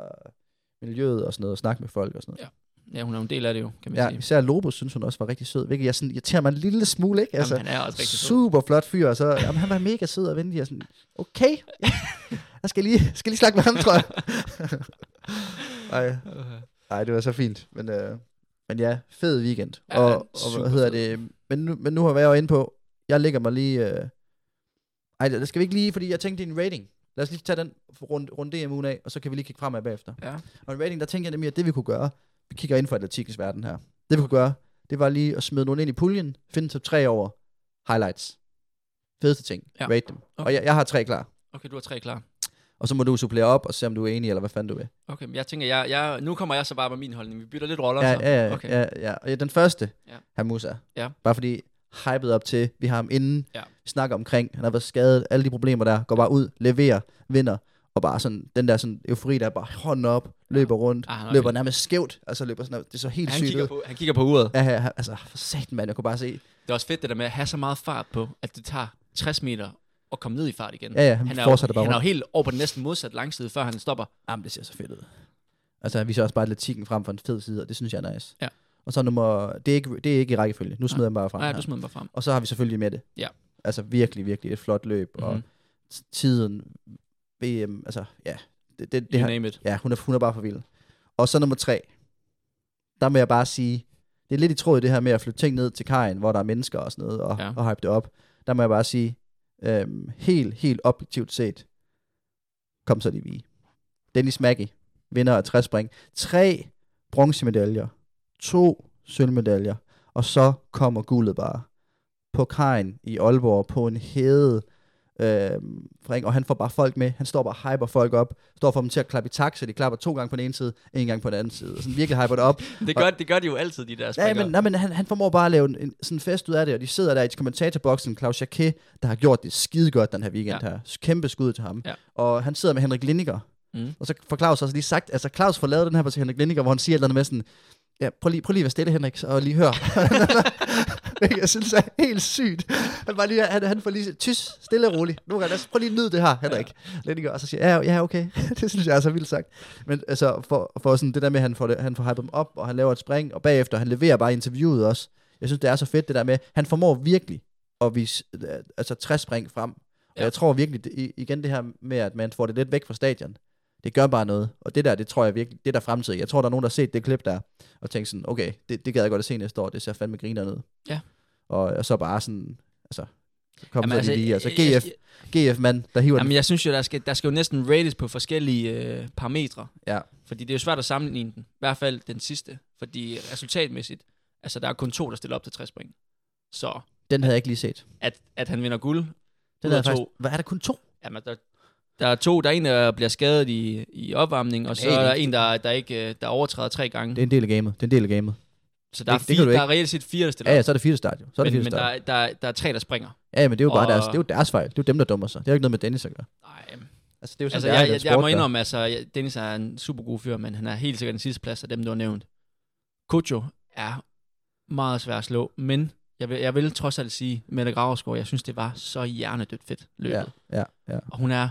miljøet og sådan noget, og snakke med folk og sådan noget.
ja, hun er jo en del af det jo, kan man
Ja,
sige.
især Lobos synes hun også var rigtig sød, hvilket jeg sådan irriterer mig en lille smule, ikke?
Altså,
Altså,
Jamen, han er også rigtig sød.
super flot fyr, og så, jamen, han var mega sød og venlig, og sådan, okay, jeg skal lige, skal lige snakke med ham, tror jeg. Ej,
Åh,
ej, det var så fint, men, øh, men ja, fed weekend,
Ja,
ja, og,
den er
og
super
hvad hedder
fed.
det, men nu, men nu har jeg jo inde på, jeg ligger mig lige, øh, ej, det skal vi ikke lige, fordi jeg tænkte, det er en rating, lad os lige tage den rundt, rundt DMU'en af, og så kan vi lige kigge fremad bagefter.
Ja.
Og en rating, der tænker jeg nemlig, at det vi kunne gøre, vi kigger inden for atletikkens verden her, det vi kunne gøre, det var lige at smide nogen ind i puljen, finde top 3 over highlights. Fedeste ting.
Ja.
Ja. Rate dem. Okay.
Okay.
Og jeg, jeg har tre klar.
Okay, du har tre klar.
Og så må du supplere op og se, om du er enig, eller hvad fanden du vil.
Okay, men jeg tænker, jeg, jeg, nu kommer jeg så bare med min holdning. Vi bytter lidt roller.
Ja,
så.
ja, ja,
okay.
okay. ja, ja. Og ja, den første,
Ja.
ja. Hamusa.
Ja.
Bare fordi hypet op til, vi har ham inden,
Ja.
vi snakker omkring, han har været skadet, alle de problemer der, går bare ud, leverer, vinder, og bare sådan, den der sådan eufori, der er bare hånden op, løber rundt,
Ah, han er
ja. løber
vild.
nærmest skævt, altså løber sådan, det så helt
han,
sygt
kigger
ud.
på, han kigger på uret.
Ja, ja, altså, for satan, mand, jeg kunne bare se,
Det er også fedt det der med at have så meget fart på, at det tager 60 meter og komme ned i fart igen.
Ja, ja, han
han er,
fortsætter
jo,
bare
han er jo
rundt.
helt over på den næsten modsatte langside, før han stopper.
Jamen, det ser så fedt ud. Altså, han viser også bare atletikken frem for en fed side, og det synes jeg er nice.
Ja.
Og så nummer... Det er ikke, det er ikke i rækkefølge. Nu smider jeg bare frem
Nej,
her.
du smider den bare frem.
Og så har vi selvfølgelig med det.
Ja.
Altså virkelig, virkelig et flot løb. Mm-hmm. Og
Mhm.
t- tiden, VM, altså ja. Det, det, det
You
har,
name it.
ja, hun er, hun er bare for vild. Og så nummer tre. Der må jeg bare sige, det er lidt i tråd i det her med at flytte ting ned til kajen, hvor der er mennesker og sådan noget, og,
Ja.
ja. og hype det op. Der må jeg bare sige, øhm, helt, helt objektivt set, kom så lige vi. Dennis Maggi, vinder af 60 spring. Tre bronzemedaljer, to sølvmedaljer, og så kommer guldet bare på kajen i Aalborg på en hede øh, ring, og han får bare folk med. Han står bare og hyper folk op, står for dem til at klappe i takt, så de klapper to gange på den ene side, en gang på den anden side. Og sådan virkelig hyper det op.
Det gør, det gør de jo altid, de der
Ja,
springer.
men, nej, men han, han formår bare at lave en, en sådan en fest ud af det, og de sidder der i kommentatorboksen, Claus Jacquet, der har gjort det skide godt den her weekend
Ja.
ja. her. Kæmpe skud til ham.
Ja.
Og han sidder med Henrik Lindiger,
Mm.
mm. og så får Claus også lige sagt, altså Claus får lavet den her på til Henrik Lindiger, hvor han siger et eller andet med sådan, ja, prøv lige, prøv lige at være stille, Henrik, og lige hør. Hvilket jeg synes er helt sygt. Han, var lige, han, han får lige tys, stille og roligt. Nu kan jeg prøv lige at nyde det her, Henrik. Ja. Lindiger, og så siger jeg, ja, ja, okay. det synes jeg er så vildt sagt. Men altså, for, for sådan det der med, at han får, det, han får hypet dem op, og han laver et spring, og bagefter, han leverer bare interviewet også. Jeg synes, det er så fedt det der med, han formår virkelig at vise øh, altså, 60 spring frem. Ja.
Ja.
Og jeg tror virkelig, det, i- igen det her med, at man får det lidt væk fra stadion, det gør bare noget. Og det der, det tror jeg virkelig, det er der fremtid. Jeg tror, der er nogen, der har set det klip der, og tænkt sådan, okay, det, det gad jeg godt at se næste år, det ser fandme griner ud.
Ja.
Og, og så bare sådan, altså, kom
Jamen,
så altså, lige, altså
jeg-
GF, GF-mand, der hiver
Jamen,
den.
jeg synes jo, der skal, der skal jo næsten rates på forskellige øh, parametre.
Ja.
Fordi det er jo svært at sammenligne den. I hvert fald den sidste. Fordi resultatmæssigt, altså der er kun to, der stiller op til 60 spring. Så
Den havde jeg ikke lige set.
at, at han vinder guld,
Den
ud
havde
af
jeg faktisk,
to.
hvad er der kun to?
Jamen, der, der er to, der er en, der bliver skadet i, i opvarmning, og så
hey,
er der
det-
en, der, der, ikke, øh, der overtræder tre gange.
Det er en del af gamet. Det er en del af gamet.
så der, er
det-
fire,
det kan du
der
ikke.
er reelt set fire, der stiller
Ja, ja,
op.
så er det fire start jo. Så er det
men,
fire
men der,
start.
er- der, er- der er tre, der springer.
Ja, men det er jo bare
og-
deres, det er jo deres fejl. Det er jo dem, der dummer sig. Det er jo ikke noget med Dennis at gøre.
Nej,
Altså, det er jo sådan,
altså,
det er i
jeg,
den
jeg,
sport,
jeg må
der.
indrømme, altså, jeg- Dennis er en super god fyr, men han er helt sikkert den sidste plads af dem, du har nævnt. Kojo er meget svær at slå, men jeg vil, jeg vil trods alt sige, Mette Graversgaard, jeg synes, det var så hjernedødt fedt løbet. Ja.
Ja, ja, ja.
Og hun er... hun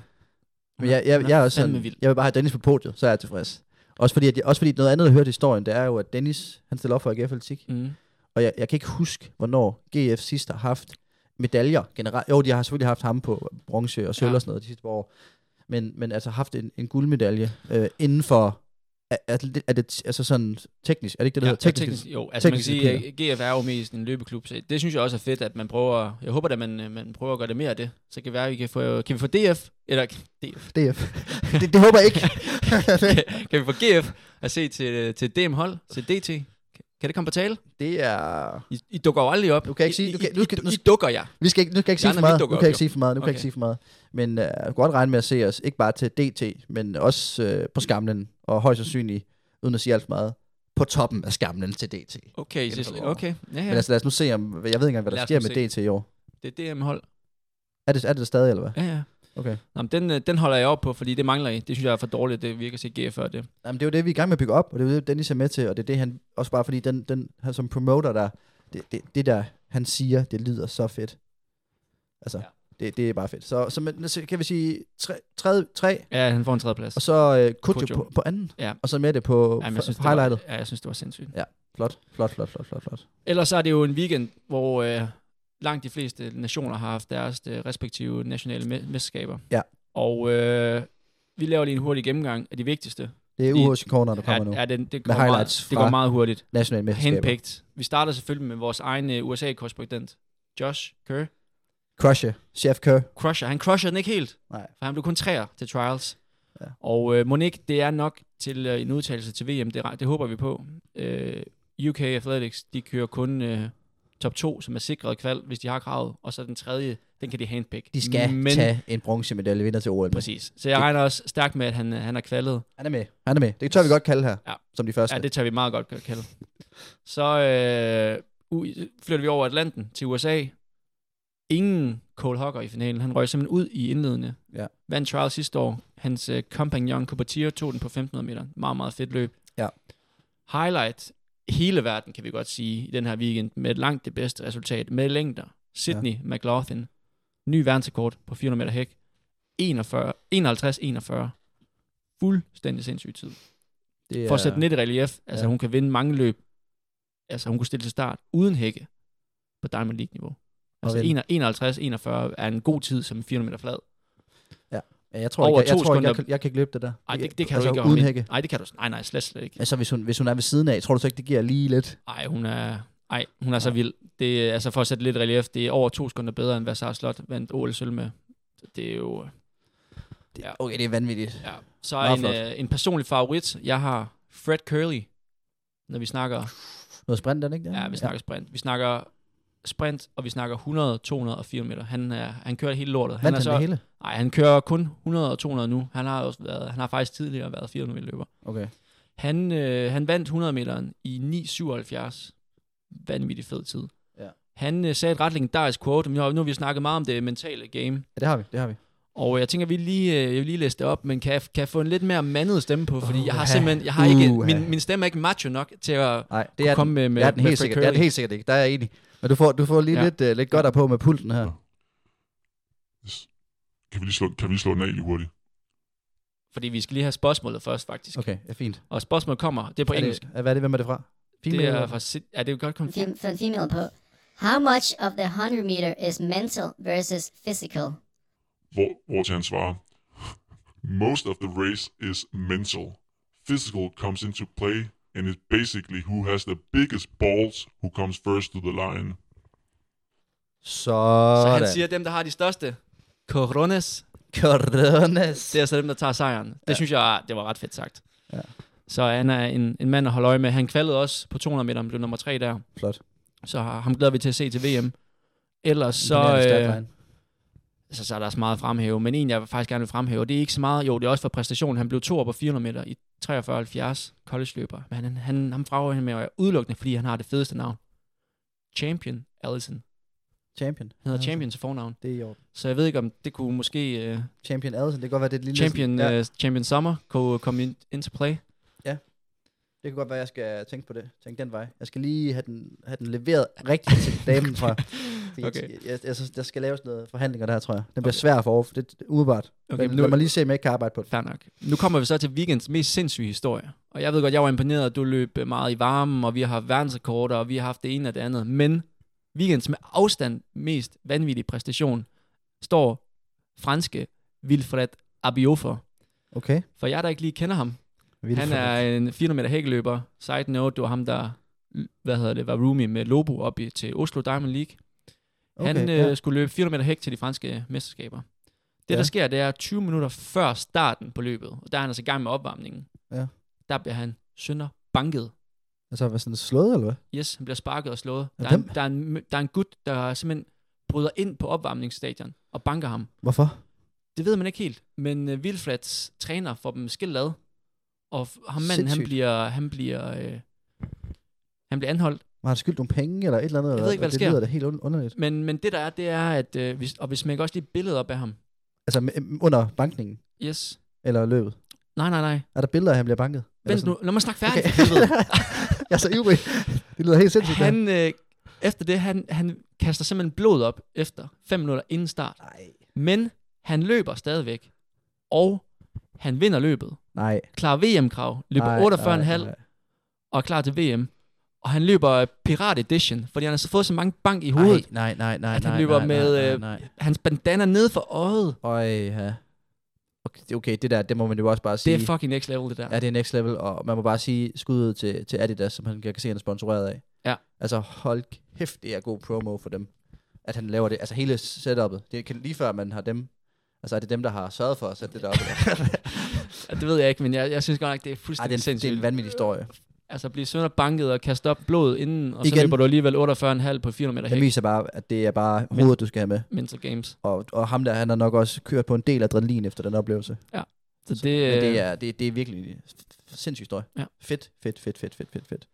Men jeg, jeg,
hun
jeg, er også
fandme
sådan,
vild.
jeg vil bare have Dennis på podiet, så er jeg tilfreds. Også fordi, at, jeg- også fordi noget andet, jeg hørte i historien, det er jo, at Dennis, han stiller op for AGF Atletik.
Mm.
Og jeg, jeg kan ikke huske, hvornår GF sidst har haft medaljer generelt. Jo, de har selvfølgelig haft ham på bronze og sølv
Ja.
ja. og sådan noget de sidste par år. Men, men altså haft en, en guldmedalje øh, inden for... Er, er, det, er det altså sådan teknisk? Er det ikke det, der
Ja,
ja,
og
hedder? Teknisk,
teknisk, jo, altså man kan
tekniske
sige, at GF er jo mest en løbeklub, så det synes jeg også er fedt, at man prøver, jeg håber, at man, øh, man prøver at gøre det mere af det, så kan, være, at vi kan, få, kan vi få DF, eller DF,
DF. det, det håber jeg ikke.
kan vi få GF at se til, øh, til DM-hold, til DT, kan det komme på tale?
det er...
I, I dukker jo aldrig op.
Du kan ikke
I,
sige-
I,
du kan-
I,
du skal-
I,
nu
I
skal-
dukker jeg.
Vi skal ikke, nu kan jeg ikke sige
Andre, vi
for meget. Nu
dukker
kan
op,
jeg ikke
jo.
sige for meget. Nu kan jeg ikke
Okay.
sige for meget. Men øh, jeg kan godt regne med at se os, ikke bare til DT, men også øh, på skamlen, og højst sandsynligt, uden at sige alt for meget, på toppen af skamlen til DT. Ja.
Okay,
Inden
så,
for år.
okay. Ja,
Men
ja.
altså, lad os nu se, om, jeg ved ikke engang, hvad
Lad
der
os
sker
nu
med DT i år.
Det er DM-hold.
Er det, er det der stadig, eller hvad?
Ja, ja.
Okay.
Nå, men den, øh, den holder jeg op på, fordi det mangler I. Det synes jeg er for dårligt, det virker til GF før det.
Jamen, det er jo det, vi er i gang med at bygge op, og det er jo det, Dennis er med til, og det er det, han også bare fordi, den, den, han som promoter der, det, det, det der, han siger, det lyder så fedt. Altså,
Ja.
ja. det, det er bare fedt. Så, så, men, så kan vi sige, tre, tre, tre
Ja, han får en tredje plads.
Og så øh, Kutjo
Kutjo.
på, på anden,
Ja.
og så med det på
men
Ej, synes,
det var,
highlightet.
ja, jeg synes, det var sindssygt.
Flot, flot, flot, flot, flot, flot.
Ellers så er det jo en weekend, hvor øh, langt de fleste nationer har haft deres øh, respektive nationale me- mesterskaber.
Ja.
Og øh, vi laver lige en hurtig gennemgang af de vigtigste.
Det er
Fordi-
UHC Corner, der kommer nu.
Ja, den, det, går meget,
highlights
det går
fra-
meget hurtigt.
National mesterskaber.
Henpigt. Vi starter selvfølgelig med vores egen øh, USA-korrespondent, Josh Kerr.
Crusher, Chef Kerr.
crusher. Han crusher den ikke helt,
Nej.
for han blev kun træer til trials. Ja.
Ja.
Og øh, Monique, det er nok til øh, en udtalelse til VM, det, re- det håber vi på. Øh, UK Athletics, de kører kun øh, top 2, som er sikret kval, hvis de har kravet, og så den tredje, den kan de handpick.
De skal
Men,
Men... tage en bronzemedalje vinder til OL. med.
Præcis. Så jeg regner også stærkt med, at han, øh, han er kvalet.
Han er med. Han er med. Det tør vi godt kalde her,
Ja.
ja. som de første.
Ja, det tager vi meget godt kalde. Så øh, u- flytter vi over Atlanten til USA. Ingen Cole Hogger i finalen. Han røg simpelthen ud i indledende.
Ja.
Vandt trial sidste år. Hans øh, kompagnon Cupertino tog den på 1500 meter. Meget, meget fedt løb.
Ja.
Highlight hele verden, kan vi godt sige, i den her weekend, med langt det bedste resultat, med længder. Sydney ja. McLaughlin, ny verdensrekord på 400 meter hæk, 41, 51-41. Fuldstændig sindssyg tid.
Det
For at sætte den lidt i relief, altså
Ja.
ja. hun kan vinde mange løb, altså hun kunne stille til start uden hække på Diamond League-niveau. Altså
vinde.
51-41 er en god tid som 400 meter flad.
Ja, jeg tror,
over
over ikke, jeg,
to
jeg, tror ikke,
sekunder-
jeg, kan- jeg kan ikke løbe det der.
Ej, det, det kan
altså,
du ikke gøre.
Uden
Uden
hække.
Nej, det kan du s- Nej, nej, slet, slet ikke.
Altså, hvis hun, hvis hun er ved siden af, tror du så ikke, det giver lige lidt?
Ej, hun er, ej, hun er så vild. Det, er- altså for at sætte lidt i relief, det er over to sekunder bedre, end hvad Sara Slot vandt OL sølv med. Så Det er jo...
Det,
Ja.
Okay, det er vanvittigt.
Ja. Så
Meget
en,
flot.
øh, en personlig favorit, jeg har Fred Curley, når vi snakker,
Noget sprint, er det ikke det?
ja, vi snakker sprint. Vi snakker sprint, og vi snakker 100, 200 og 400 meter. Han, er, han kører hele lortet.
Vandt
er
han det hele?
Nej, han kører kun 100 og 200 nu. Han har, også været, han har faktisk tidligere været 400 meter løber.
Okay.
Han, øh, han vandt 100 meteren i 9.77. Vanvittig fed tid.
Ja.
Han øh, sagde et ret legendarisk quote. Nu har, nu har vi snakket meget om det mentale game.
Ja, det har vi, det har vi.
Og jeg tænker, vi lige, øh, jeg vil lige læse det op, men kan jeg, kan jeg få en lidt mere mandet stemme på? Fordi jeg har
Uha.
simpelthen, jeg har ikke,
Uha.
min, min stemme er ikke macho nok til at...
Nej, det
Kunne
er
komme
den,
med- med-
det er den
med
helt
Fred
sikkert, det er den
Curley.
helt sikkert ikke. Der er jeg enig. Men du får, du får lige
Ja.
ja. lidt, uh, lidt godt på med pulten her.
Kan vi lige slå, kan vi lige slå den af lige hurtigt?
Fordi vi skal lige have spørgsmålet først, faktisk.
Okay, er fint.
Og spørgsmålet kommer, det er på
er
engelsk.
Det, hvad er det, hvem er det fra?
Det,
Female?
er fra... Sid- Ja, det er jo godt kommet.
Fem- fem- female på. How much of the 100 meter is mental versus physical?
Hvor, hvor til han svarer, Most of the race is mental. Physical comes into play, and it's basically who has the biggest balls who comes first to the line.
Sådan.
Så han siger, at dem, der har de største coronas,
Coronas.
Det er så dem, der tager sejren. Det ja. synes jeg, ah, det var ret fedt sagt. Ja. Så han er en, en mand at holde øje med. Han kvalede også på 200 meter, men blev nummer tre der.
Flot.
Så ham glæder vi til at se til VM. Ellers så, øh, så, så er der også meget at fremhæve. Men en, jeg faktisk gerne vil fremhæve, det er ikke så meget. Jo, det er også for præstationen. Han blev to på 400 meter i 43-70 college-løber. Men han, han, ham frager han med at være udelukkende, fordi han har det fedeste navn. Champion Allison. Han
Champion.
hedder Champion til fornavn.
Det er i orden.
Så jeg ved ikke, om det kunne måske... Øh,
Champion Adelsen, det kan godt være, det er et lille...
Champion,
ja,
ja. uh, Champion Summer kunne komme ind into play.
det kan godt være, jeg skal tænke på det. Tænke den vej. Jeg skal lige have den, have den leveret rigtigt til damen fra.
Okay.
Jeg, jeg, jeg, synes, der skal laves noget forhandlinger der, tror jeg. Den bliver okay. svær for over. Det er umiddelbart.
Okay,
Okay,
men
lad,
nu-
lad mig lige se, om jeg ikke kan arbejde på det.
Fair nok. Nu kommer vi så til weekends mest sindssyge historie. Og jeg ved godt, jeg var imponeret, at du løb øh, meget i varmen, og vi har haft verdensrekorder, og vi har haft det ene og det andet. Men weekends med afstand mest vanvittige præstation står franske Wilfred Abiofor.
Okay.
For jeg der ikke lige kender ham.
Vildt
Han er en 400 meter hækkeløber. Side note, det var ham, der hvad hedder det, var roomie med Lobo op i, til Oslo Diamond League.
Okay,
Okay, han øh,
ja.
ja. skulle løbe 400 meter hæk til de franske øh, mesterskaber. Det,
Ja.
ja. der sker, det er 20 minutter før starten på løbet, og der er han altså i gang med opvarmningen.
Ja.
Der bliver han sønder banket.
Altså, var sådan slået, eller hvad?
Yes, han bliver sparket og slået.
Af
Der er, en,
hvem?
der, er en, mø- der er en gut, der simpelthen bryder ind på opvarmningsstadion og banker ham.
Hvorfor?
Det ved man ikke helt, men øh, Wilfreds træner får dem skilt ad, og f- ham manden, han
Sindssygt.
bliver, han bliver, øh, han bliver anholdt.
Var han skyldt nogle penge, eller et eller andet?
Jeg ved
eller-
ikke, hvad der
det
sker.
lyder da helt un- underligt.
Men, men det der er, det er, at øh, hvis, og hvis man ikke også lige et billede op af ham.
Altså, m- under bankningen,
Yes.
eller løbet.
Nej, nej, nej.
Er der billeder af, at han bliver banket? Eller
Vent
sådan?
nu, lad mig snakke færdigt.
Okay.
Okay.
jeg er så ivrig. Det lyder helt sindssygt. Han...
han, øh, efter det, han, han kaster simpelthen blod op efter fem minutter inden start.
Nej.
Men han løber stadigvæk, og han vinder løbet.
Nej.
Klarer VM-krav,
nej,
løber 48,5
nej,
og er klar til VM. Og han løber øh, Pirat Edition, fordi han har så fået så mange bank i
Nej,
hovedet. Ej.
nej, nej, nej,
At han
nej,
løber
nej,
med,
nej,
øh,
nej.
Hans bandana nede for øjet.
Øj, ja. Okay, det- okay, det der, det må man jo også bare
Det
sige.
er fucking next level, det der.
ja, det er next level, og man må bare sige skuddet til, til Adidas, som han jeg kan se, han er sponsoreret af.
Ja.
Altså, hold kæft, det er god promo for dem, at han laver det. Altså, hele setupet. Det kan lige før, man har dem. Altså, er det dem, der har sørget for at sætte det deroppe?
Ja, Det ved jeg ikke, men jeg, jeg synes godt nok, det er
Ej, det
fuldstændig
er, en, det er
sindssygt.
en vanvittig historie.
Altså blive sønder banket og kaste op blod inden, og så
Igen.
løber du alligevel 48,5 på 400 meter
Det
hæk.
viser bare, at det er bare hovedet, du skal have med.
Mental Games.
Og, og ham der, han har nok også kørt på en del adrenalin efter den oplevelse. Altså,
Så det,
Men det
øh,
er, det, det er virkelig sindssygt historie.
Ja.
Fedt, fedt, fedt, fedt, fedt, fedt, fedt.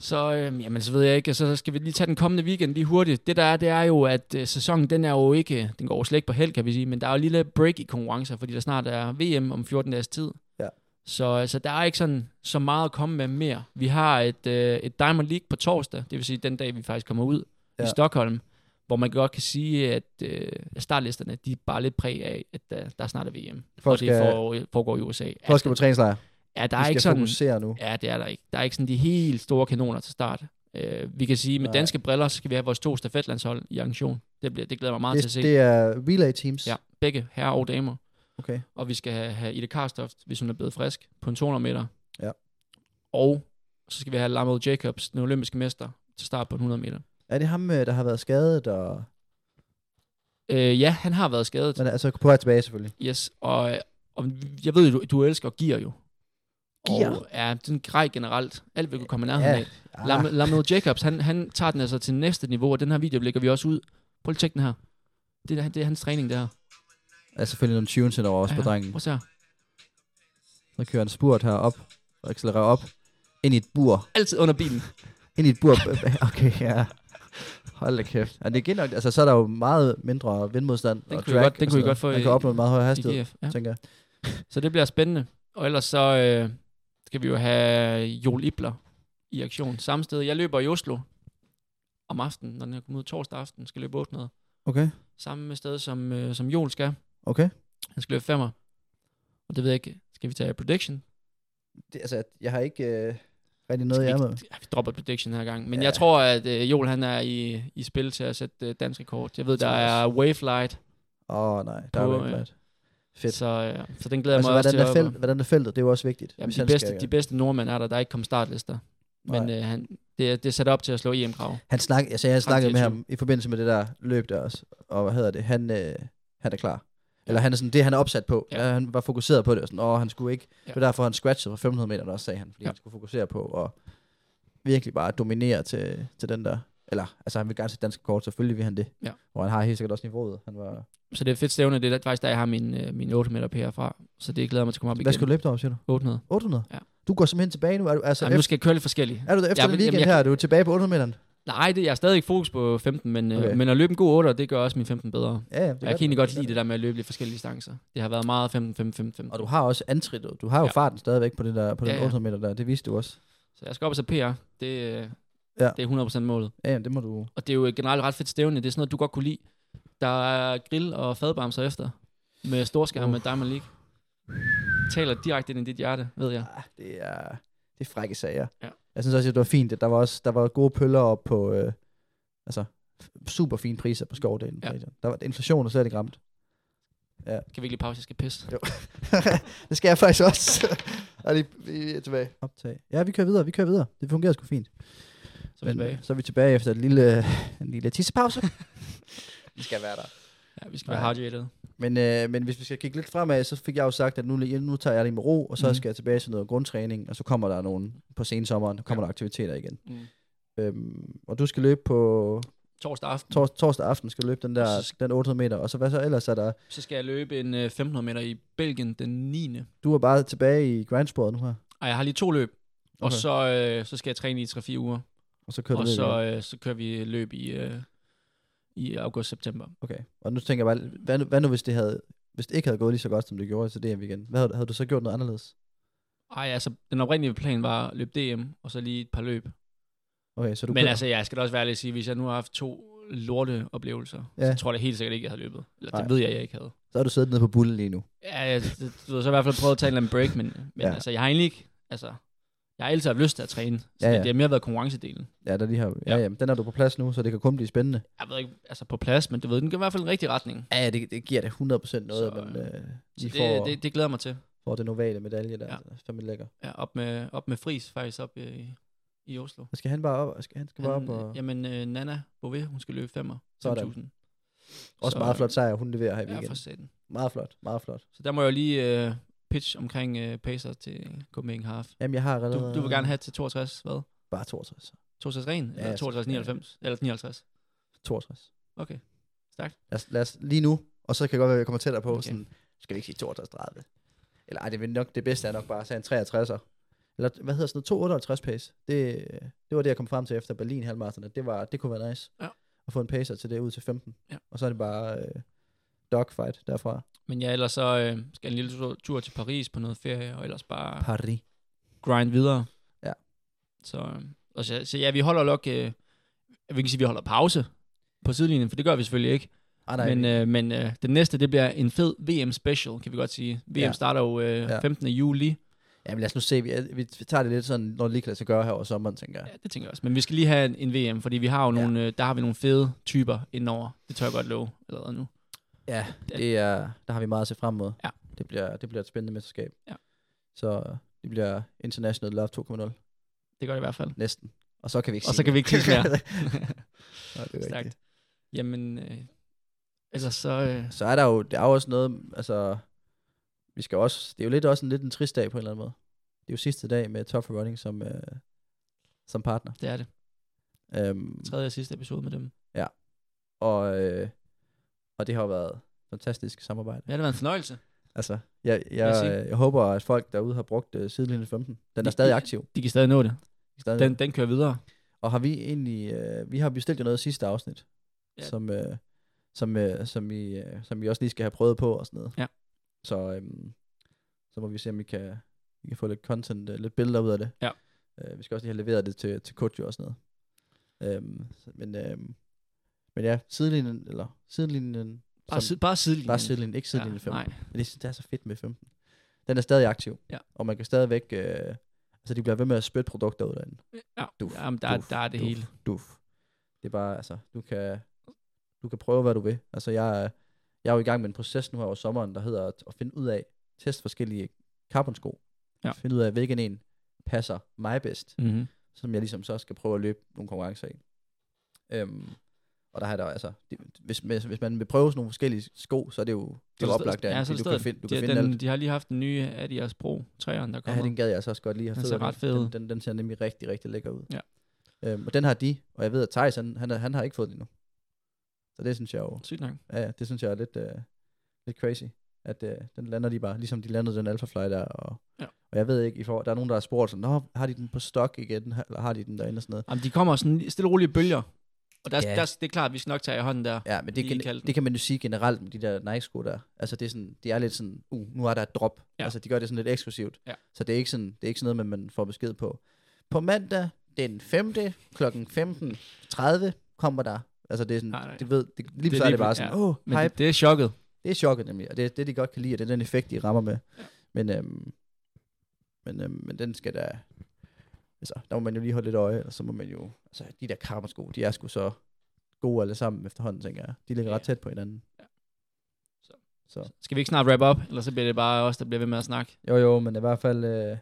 Så, øh, jamen, så ved jeg ikke, så skal vi lige tage den kommende weekend lige hurtigt. Det der er, det er jo, at øh, sæsonen, den er jo ikke, den går jo slet ikke på held, kan vi sige, men der er jo lige lidt break i konkurrencer, fordi der snart er VM om 14 dages tid.
Ja.
Så, øh, så der er ikke sådan så meget at komme med mere. Vi har et, øh, et Diamond League på torsdag, det vil sige den dag, vi faktisk kommer ud ja.
Ja.
i Stockholm, hvor man godt kan sige, at øh, startlisterne, de er bare lidt præg af, at der, der snart er VM.
Folk
og det
skal-
foregår, foregår i USA.
Folk skal på træningslejr.
Altså, ja, der
Vi
er
skal
ikke sådan,
fokusere nu.
Ja, det er der ikke. Der er ikke sådan de helt store kanoner til start. Øh, vi kan sige, med
Nej.
danske briller, så skal vi have vores to stafetlandshold i arrangation. Det, bliver, det glæder jeg mig meget til at
Det,
se.
det er relay teams.
Ja, begge herrer og damer.
Okay.
Og vi skal have, have Ida Karstoft, hvis hun er blevet frisk, på en 200 meter.
Ja.
Og så skal vi have Lamo Jacobs, den olympiske mester, til start på en 100 meter.
Er det ham, øh, der har været skadet? Og...
Øh, ja, han har været skadet.
Men altså på vej tilbage selvfølgelig.
Yes, og, og jeg ved jo, du, du elsker gear jo.
Gear?
Og, ja, den grej generelt. Alt vil kunne komme i nærheden
Ja. Ah.
af. Lam- Lamel Ah. Jacobs, han, han tager den altså til næste niveau, og den her video lægger vi også ud. Prøv lige at tjekke den her. Det er, det er hans træning, det her.
Der er selvfølgelig nogle tunes ind over også på
Ja,
drengen.
Prøv at se her.
Så kører han spurt her op, og accelererer op, ind i et bur.
Altid under bilen.
Ind i et bur. Okay, ja. Hold da kæft. Og det er igen nok, altså så er der jo meget mindre vindmodstand
Den
og
kunne vi
track
godt- den
og
kunne vi
sådan
godt få
noget.
i-
Man kan opnå en meget høj hastighed,
I GF, ja.
tænker jeg.
Så det bliver spændende. Og ellers så øh, skal vi jo have Joel Ibler i aktion samme sted. Jeg løber i Oslo om aftenen, når den er kommet ud torsdag aften, skal løbe 800.
Okay,
Samme sted som, øh, som Joel skal.
okay.
Han skal løbe 5 Og det ved jeg ikke. Skal vi tage prediction?
Det, altså, jeg har ikke øh, rigtig noget, jeg er med.
vi, ja, vi dropper prediction her gang. Men ja.
Ja.
jeg tror, at øh, Joel han er i, i spil til at sætte øh, dansk rekord. Jeg ved, der
tror jeg
er wavelight,
Åh oh, nej, der er
På,
jo ikke
øh,
meget. Fedt.
så, øh, så den glæder jeg
Altså,
mig også
hvordan
til
er,
at...
felt, hvordan er feltet? Det er jo også vigtigt.
Jamen,
hvis
de,
han
bedste,
skal-
de bedste nordmænd er der, der er ikke kommet startlister.
Nej.
Men øh, han, det, er- det er sat op til at slå E EM-krav.
Han snak, altså, jeg snakkede med
24.
ham i forbindelse med det der løb der også, og hvad hedder det, han, øh, han er klar. Eller han er sådan, det han er opsat på,
Ja.
ja. han var fokuseret på det, og sådan, åh, han skulle ikke,
Ja.
ja. det var derfor han scratchede fra 500 meter der også, sagde han, fordi
Ja.
ja. han skulle fokusere på at virkelig bare dominere til, til den der, eller, altså han vil gerne se dansk kort, selvfølgelig vil han det,
Ja.
og han har helt sikkert også niveauet. Han var,
Så det er fedt stævne, det er faktisk der, jeg har min, øh, min 8 meter PR fra. Så det glæder jeg mig til at komme op
hvad
igen.
skal du løbe derom, siger du?
800.
800?
Ja.
Du går simpelthen tilbage nu, er du, altså,
Jamen, nu
efter,
skal jeg køre lidt forskelligt.
er du der efter
Jamen,
den weekend
jamen, jeg-
her, er du tilbage på 800 meteren?
Nej, det, jeg er stadig ikke fokus på 15, men, øh,
Okay.
men at løbe en god 8, det gør også min 15 bedre.
Ja, ja, det
Og jeg kan egentlig godt lide det der med at løbe lidt forskellige distancer. Det har været meget 15, 15, 15, 15.
Og du har også antrittet, du har jo
Ja.
ja. farten stadigvæk på, det der, på den
Ja, ja.
800 meter der, det viste du også.
Så jeg skal op og se PR. Det, øh,
Ja.
det er 100% målet.
Ja, jamen, det må du...
Og det er jo et generelt ret fedt stævne. Det er sådan noget, du godt kunne lide. Der er grill og fadbamser efter. Med storskærm med Diamond League. Taler direkte ind i dit hjerte, ved jeg.
Ah, det er, det er frække sager.
Ja.
Jeg synes også, at det var fint. at Der var, også, der var gode pøller op på... Øh, altså, super fine priser på skovdelen.
Ja.
Ja. Der var inflation er slet ikke ramt.
Kan vi ikke lige pause? Jeg skal pisse.
det skal jeg faktisk også. og lige, vi er tilbage. Optag. Ja, vi kører videre, vi kører videre. Det fungerer sgu fint. øh,
Så er vi tilbage.
så er vi tilbage efter en lille, en lille tissepause. det skal være der.
Ja, vi skal være
Nej.
hydrated.
Men, øh, men hvis vi skal kigge lidt fremad, så fik jeg jo sagt, at nu, nu tager jeg det med ro, og så
Mhm.
mm. skal jeg tilbage til noget grundtræning, og så kommer der nogen på sensommeren, kommer der aktiviteter igen.
Mm.
Øhm, og du skal løbe på
Torsdag aften,
tors, torsdag aften, skal du løbe den
Og
der
så-
den 800 meter, og så hvad så ellers er der,
så skal jeg løbe en øh, 1500 meter i Belgien den 9.
du er bare tilbage i grindsporet nu her,
Og jeg har lige to løb. Okay. Og
Okay.
så, øh, så skal jeg træne i 3-4 uger.
og så kører du
og
ned
så,
igen.
øh, så kører vi løb i, øh, i august-september.
Okay, og nu tænker jeg bare, hvad nu, hvad nu hvis det havde, hvis det ikke havde gået lige så godt, som det gjorde til DM igen, hvad havde, havde du så gjort noget anderledes?
Ej, altså, den oprindelige plan var at løbe DM, og så lige et par løb.
Okay, så du
Men
kører-
altså, jeg skal da også være ærlig at sige, hvis jeg nu har haft to lorte oplevelser, ja.
Ja.
så tror jeg da helt sikkert ikke, jeg havde løbet. Eller det
Nej.
ved jeg, jeg ikke havde.
så har du siddet nede på bulle lige nu.
Ja, jeg, det, du ved, så i hvert fald prøvet at tage en eller anden break, men, men ja.
Ja.
altså, jeg har egentlig ikke, altså, jeg har altid haft lyst til at træne. Så ja,
Ja,
ja.
ja.
Det, det har mere været konkurrencedelen.
Ja, der lige har, ja,
Ja.
ja. Jamen, den er du på plads nu, så det kan kun blive spændende.
Jeg ved ikke, altså på plads, men du ved, den går i hvert fald i den rigtige retning.
Ja, ja, det, det giver det 100% noget,
Så,
så, at man øh,
Så
lige
det,
får,
det, det, glæder jeg mig til.
får den ovale medalje der.
Ja.
Ja. Det er fandme lækker.
Ja, op med, op med Fris faktisk op øh, i, i Oslo.
Og skal han bare op? Skal, han skal bare op
Han,
og...
øh, Jamen, øh, Nana Bove, hun skal løbe 5'er.
Sådan.
5.000.
også
så-
meget flot sejr, hun leverer her i
Ja, for
weekenden.
satan.
meget flot, meget flot.
Så der må jeg jo lige øh, pitch omkring øh, Pacer til Copenhagen Half.
Jamen, jeg har allerede...
Du, du vil gerne have til 62, hvad?
Bare 62.
62 ren?
Ja,
Eller 62,
ja.
99? Eller 59?
62.
Okay.
Lad os, lad os lige nu, og så kan jeg godt være, at jeg kommer tættere på.
Okay.
Okay. Sådan, skal vi ikke sige 62 30? Eller ej, det er nok det bedste er nok bare at sige en 63'er. Eller hvad hedder sådan noget? 258 pace. Det, øh, det var det, jeg kom frem til efter Berlin halvmarathon. at Det, var, det kunne være nice.
Ja.
At få en pacer til det ud til 15.
Ja.
Og så er det bare øh, dogfight derfra.
Men ja, ellers så øh, skal jeg en lille tur, tur til Paris på noget ferie, og ellers bare
Paris.
grind videre.
Ja.
Så, øh, og så, så ja, vi holder nok... Øh, vi kan sige, vi holder pause på sidelinjen, for det gør vi selvfølgelig ikke.
Ah,
Nej,
nej,
men
vi-
øh, men øh, den næste, det bliver en fed VM special, kan vi godt sige. VM
Ja.
ja. starter jo øh,
Ja.
ja. 15. juli.
Jamen lad os nu se, vi, vi tager det lidt sådan, når det lige kan lade sig gøre her over sommeren, tænker jeg.
Ja, det tænker jeg også. Men vi skal lige have en, en VM, fordi vi har jo
Ja.
nogle, øh, der har vi nogle fede typer indover. Det tør jeg godt love allerede nu.
Ja, det er, der har vi meget at se frem mod.
Ja.
Det bliver, det bliver et spændende mesterskab.
Ja.
Så det bliver International Love 2.0,
Det gør det i hvert fald.
næsten. Og så kan vi ikke
Og
sige
så kan
mere.
vi ikke sige mere.
Nej, det er rigtigt.
Stærkt. Jamen, øh, ellers så... Øh,
Så er der jo, der er jo også noget, altså, vi skal også, det er jo lidt også en lidt en trist dag på en eller anden måde. Det er jo sidste dag med Top for Running som, øh, som partner.
det er det.
Øhm,
Tredje og sidste episode med dem.
og, øh, og det har jo været fantastisk samarbejde.
Ja, det var en fornøjelse.
Altså, jeg,
jeg
jeg,
sige?
jeg, jeg håber, at folk derude har brugt øh, sidelinjen 15. Den er stadig aktiv.
De kan stadig nå det.
Stadig.
Den, den kører videre.
Og har vi egentlig, øh, vi har bestilt jo noget i sidste afsnit, ja.
Ja.
som, øh, som, øh, som, I, øh, som I også lige skal have prøvet på og sådan noget.
Ja.
Så, øhm, så må vi se, om vi kan, vi kan få lidt content, øh, lidt billeder ud af det.
Ja.
Øh, vi skal også lige have leveret det til, til Kojo og sådan noget. Øhm, så- men, øhm, men ja, sidelinjen, eller sidelinjen,
Bare,
som-
sid, bare sidelinjen.
bare sidelinjen, ikke sidelinjen
ja,
15.
Nej,
Men det synes jeg er så fedt med 15. Den er stadig aktiv,
Ja.
og man kan stadigvæk, øh, altså de bliver ved med at spytte produkter ud af den.
ja,
Duf,
jamen, der,
duf,
der er det
duf,
hele.
Duf. Det er bare, altså, du kan, du kan prøve, hvad du vil. Altså, jeg, er- jeg er jo i gang med en proces nu her over sommeren, der hedder at, at finde ud af, teste forskellige carbonsko.
Ja.
Finde ud af, hvilken en passer mig bedst,
Mm-hmm.
som jeg ligesom så skal prøve at løbe nogle konkurrencer i. Øhm, og der har der altså, det, hvis, hvis, hvis man vil prøve sådan nogle forskellige sko, så er det jo, det er jo oplagt derinde, fordi du kan finde, du kan
de,
finde alt.
den, de har lige haft den nye Adidas Pro 3'eren, der
Ja,
kommer.
den gad jeg altså også godt lige have
Den
fed,
ser
og
ret fed ud.
Den, den, den ser nemlig rigtig, rigtig lækker ud.
Ja.
Øhm, og den har de, og jeg ved, at Thijs, han, han, er- han har ikke fået den endnu. Så det synes jeg jo,
Sygt nok.
ja, ja, det synes jeg er lidt, øh, lidt crazy, at øh, den lander de bare, ligesom de landede den Alphafly der, og,
Ja.
og jeg ved ikke, i for, der er nogen, der har spurgt sådan, Nå, har de den på stok igen, Har- eller har de den derinde og sådan noget.
Jamen, de kommer sådan stille og rolige bølger. Og der,
Ja.
ja. der, det er klart, at vi skal nok tage i hånden der.
Ja, men det,
Lige
kan,
kalde den.
det kan man jo sige generelt med de der Nike-sko der. Altså, det er, sådan, det er lidt sådan, uh, nu er der et drop. Ja.
Ja.
Altså, de gør det sådan lidt eksklusivt.
Ja.
Så det er, ikke sådan, det er ikke sådan noget, man man får besked på. På mandag den 5. kl. 15.30 kommer der. Altså, det er sådan, nej,
Nej,
nej.
nej.
Det ved, det, lige
Det er
så er
lige
det bare
pl-
sådan,
ja.
åh, ja.
Men
oh, hype.
det, det er chokket.
Det er chokket nemlig, og det er det, de godt kan lide, og det er den effekt, de rammer med. Ja. Men, øhm, men, øhm, men den skal da... Altså, der må man jo lige holde lidt øje, og så må man jo... Altså, de der karmasko, de er sgu så gode alle sammen efterhånden, tænker jeg. De ligger ja.
Ja.
ret tæt på hinanden.
Ja.
Så.
Så.
så.
Skal vi ikke snart wrap up, eller så bliver det bare os, der bliver ved med at snakke.
Jo, jo, men i hvert fald... Øh,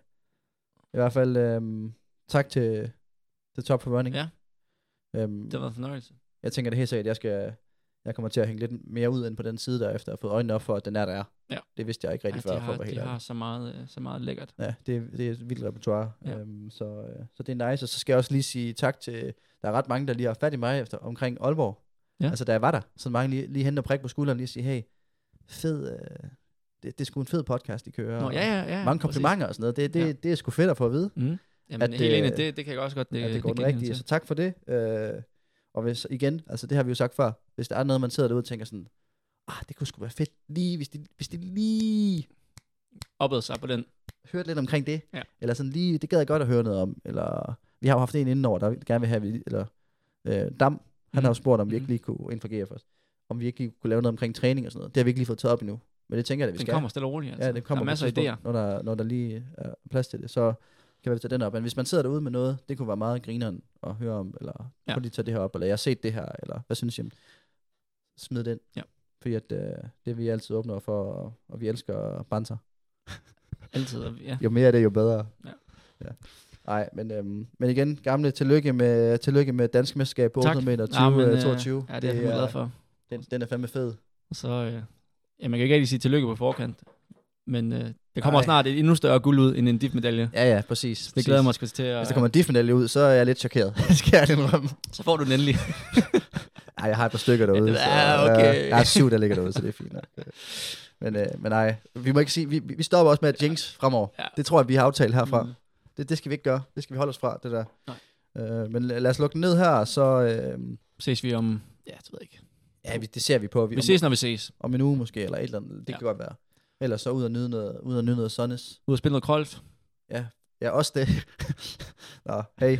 I hvert fald... Øh, tak til, til Top for Running.
Ja.
Øhm,
Det har været en fornøjelse.
Jeg tænker det helt sikkert, at jeg skal... Jeg kommer til at hænge lidt mere ud end på den side der, efter at have fået øjnene op for, at den er der er.
Ja.
Det vidste jeg ikke rigtig
Ja,
før,
de
for at
har,
være helt
de
ærlig.
har så, meget, øh, så meget lækkert.
Ja, det, er- det er et vildt repertoire, ja.
Ja.
øhm, så, øh, så det er nice. Og så skal jeg også lige sige tak til, der er ret mange, der lige har fat i mig efter, omkring Aalborg. Ja.
Ja.
Altså da jeg var der, så mange lige, lige hente og prik på skulderen lige og sige, hey, fed, øh, det, det er sgu en fed podcast, I kører.
Nå,
og
ja, ja, ja.
mange
præcis.
komplimenter og sådan noget. Det, det,
Ja.
det er sgu fedt at få at vide,
Mm. Jamen,
At,
at, helt
øh,
enig, det, det kan jeg også godt...
det, at det går
kan
den
jeg
rigtige.
til.
Så tak for det. Øh, og hvis, igen, altså det har vi jo sagt før, hvis der er noget, man sidder derude og tænker sådan, ah, det kunne sgu være fedt lige, hvis de, hvis de lige
Oppede sig på den.
hørt lidt omkring det.
Ja.
Eller sådan lige, det gad jeg godt at høre noget om. Eller, vi har jo haft en indenover, der gerne vil have, vi- eller øh, Dam, han mm. har jo spurgt, om vi ikke
Mhm.
lige kunne interagere for os. Om vi ikke lige kunne lave noget omkring træning og sådan noget. Det har vi ikke lige fået taget op endnu. Men det tænker jeg, at vi
Den
skal.
kommer stille og roligt. Altså.
ja, det
der
kommer på
er
et
masser af idéer.
tidspunkt, Når der, når der lige er plads til det, så kan vi tage den op. Men hvis man sidder derude med noget, det kunne være meget grineren at høre om, eller ja.
Ja.
prøv lige at tage det her op, eller jeg har set det her, eller hvad synes I om Smid den.
Ja.
Fordi at, øh, det er vi altid åbner for, og, og vi elsker banter.
Altid. og- Ja.
Jo mere af det, jo bedre.
Ja.
ja. Ej, men, øhm, men igen, gamle, tillykke med, tillykke med dansk mesterskab på
Tak.
800 meter
Ja,
20,
men,
øh,
øh,
22.
Ja, det er jeg fandme glad for.
Den, den er fandme fed.
Og så... øh, Ja, man kan ikke rigtig sige tillykke på forkant. Men øh, der kommer
Ej.
snart et endnu større guld ud end en dip-medalje.
Ja, ja, præcis.
Det
præcis.
glæder jeg mig sgu til. At,
Hvis der kommer en diffinale ud, så er jeg lidt chokeret. skal jeg indrømme.
Så får du den endelig.
Ej, jeg har et par stykker derude.
Ja, okay.
øh, jeg har syv, der ligger derude, så det er fint. nok. Men, øh, men nej, vi må ikke sige, vi, vi vi stopper også med at jinx fremover.
Ja.
Det tror jeg, vi har aftalt herfra.
Mm.
Det, det skal vi ikke gøre. Det skal vi holde os fra, det der.
Nej.
Øh, men lad lad os lukke den ned her, så... Øh,
Ses vi om... Ja, det ved jeg ikke.
Ja, vi- det ser vi på.
Vi
om-
ses, når vi ses.
Om en uge måske, eller et eller andet. Det
Ja.
kan godt være. Ellers så ud og nyde noget, ud og nyde noget sunnes.
Ud og spille noget krolf.
Ja, også det. Nå, hey.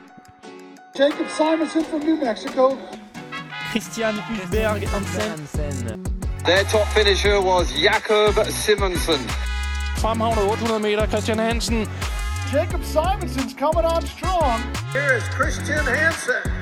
Jacob Simonson from New Mexico.
Christian Hulberg Hansen
Their top finisher was Jakob Simonsen.
fremhavner 800 meter. Christian Hansen
Jacob Simonson's coming on strong. Here is Christian Hansen.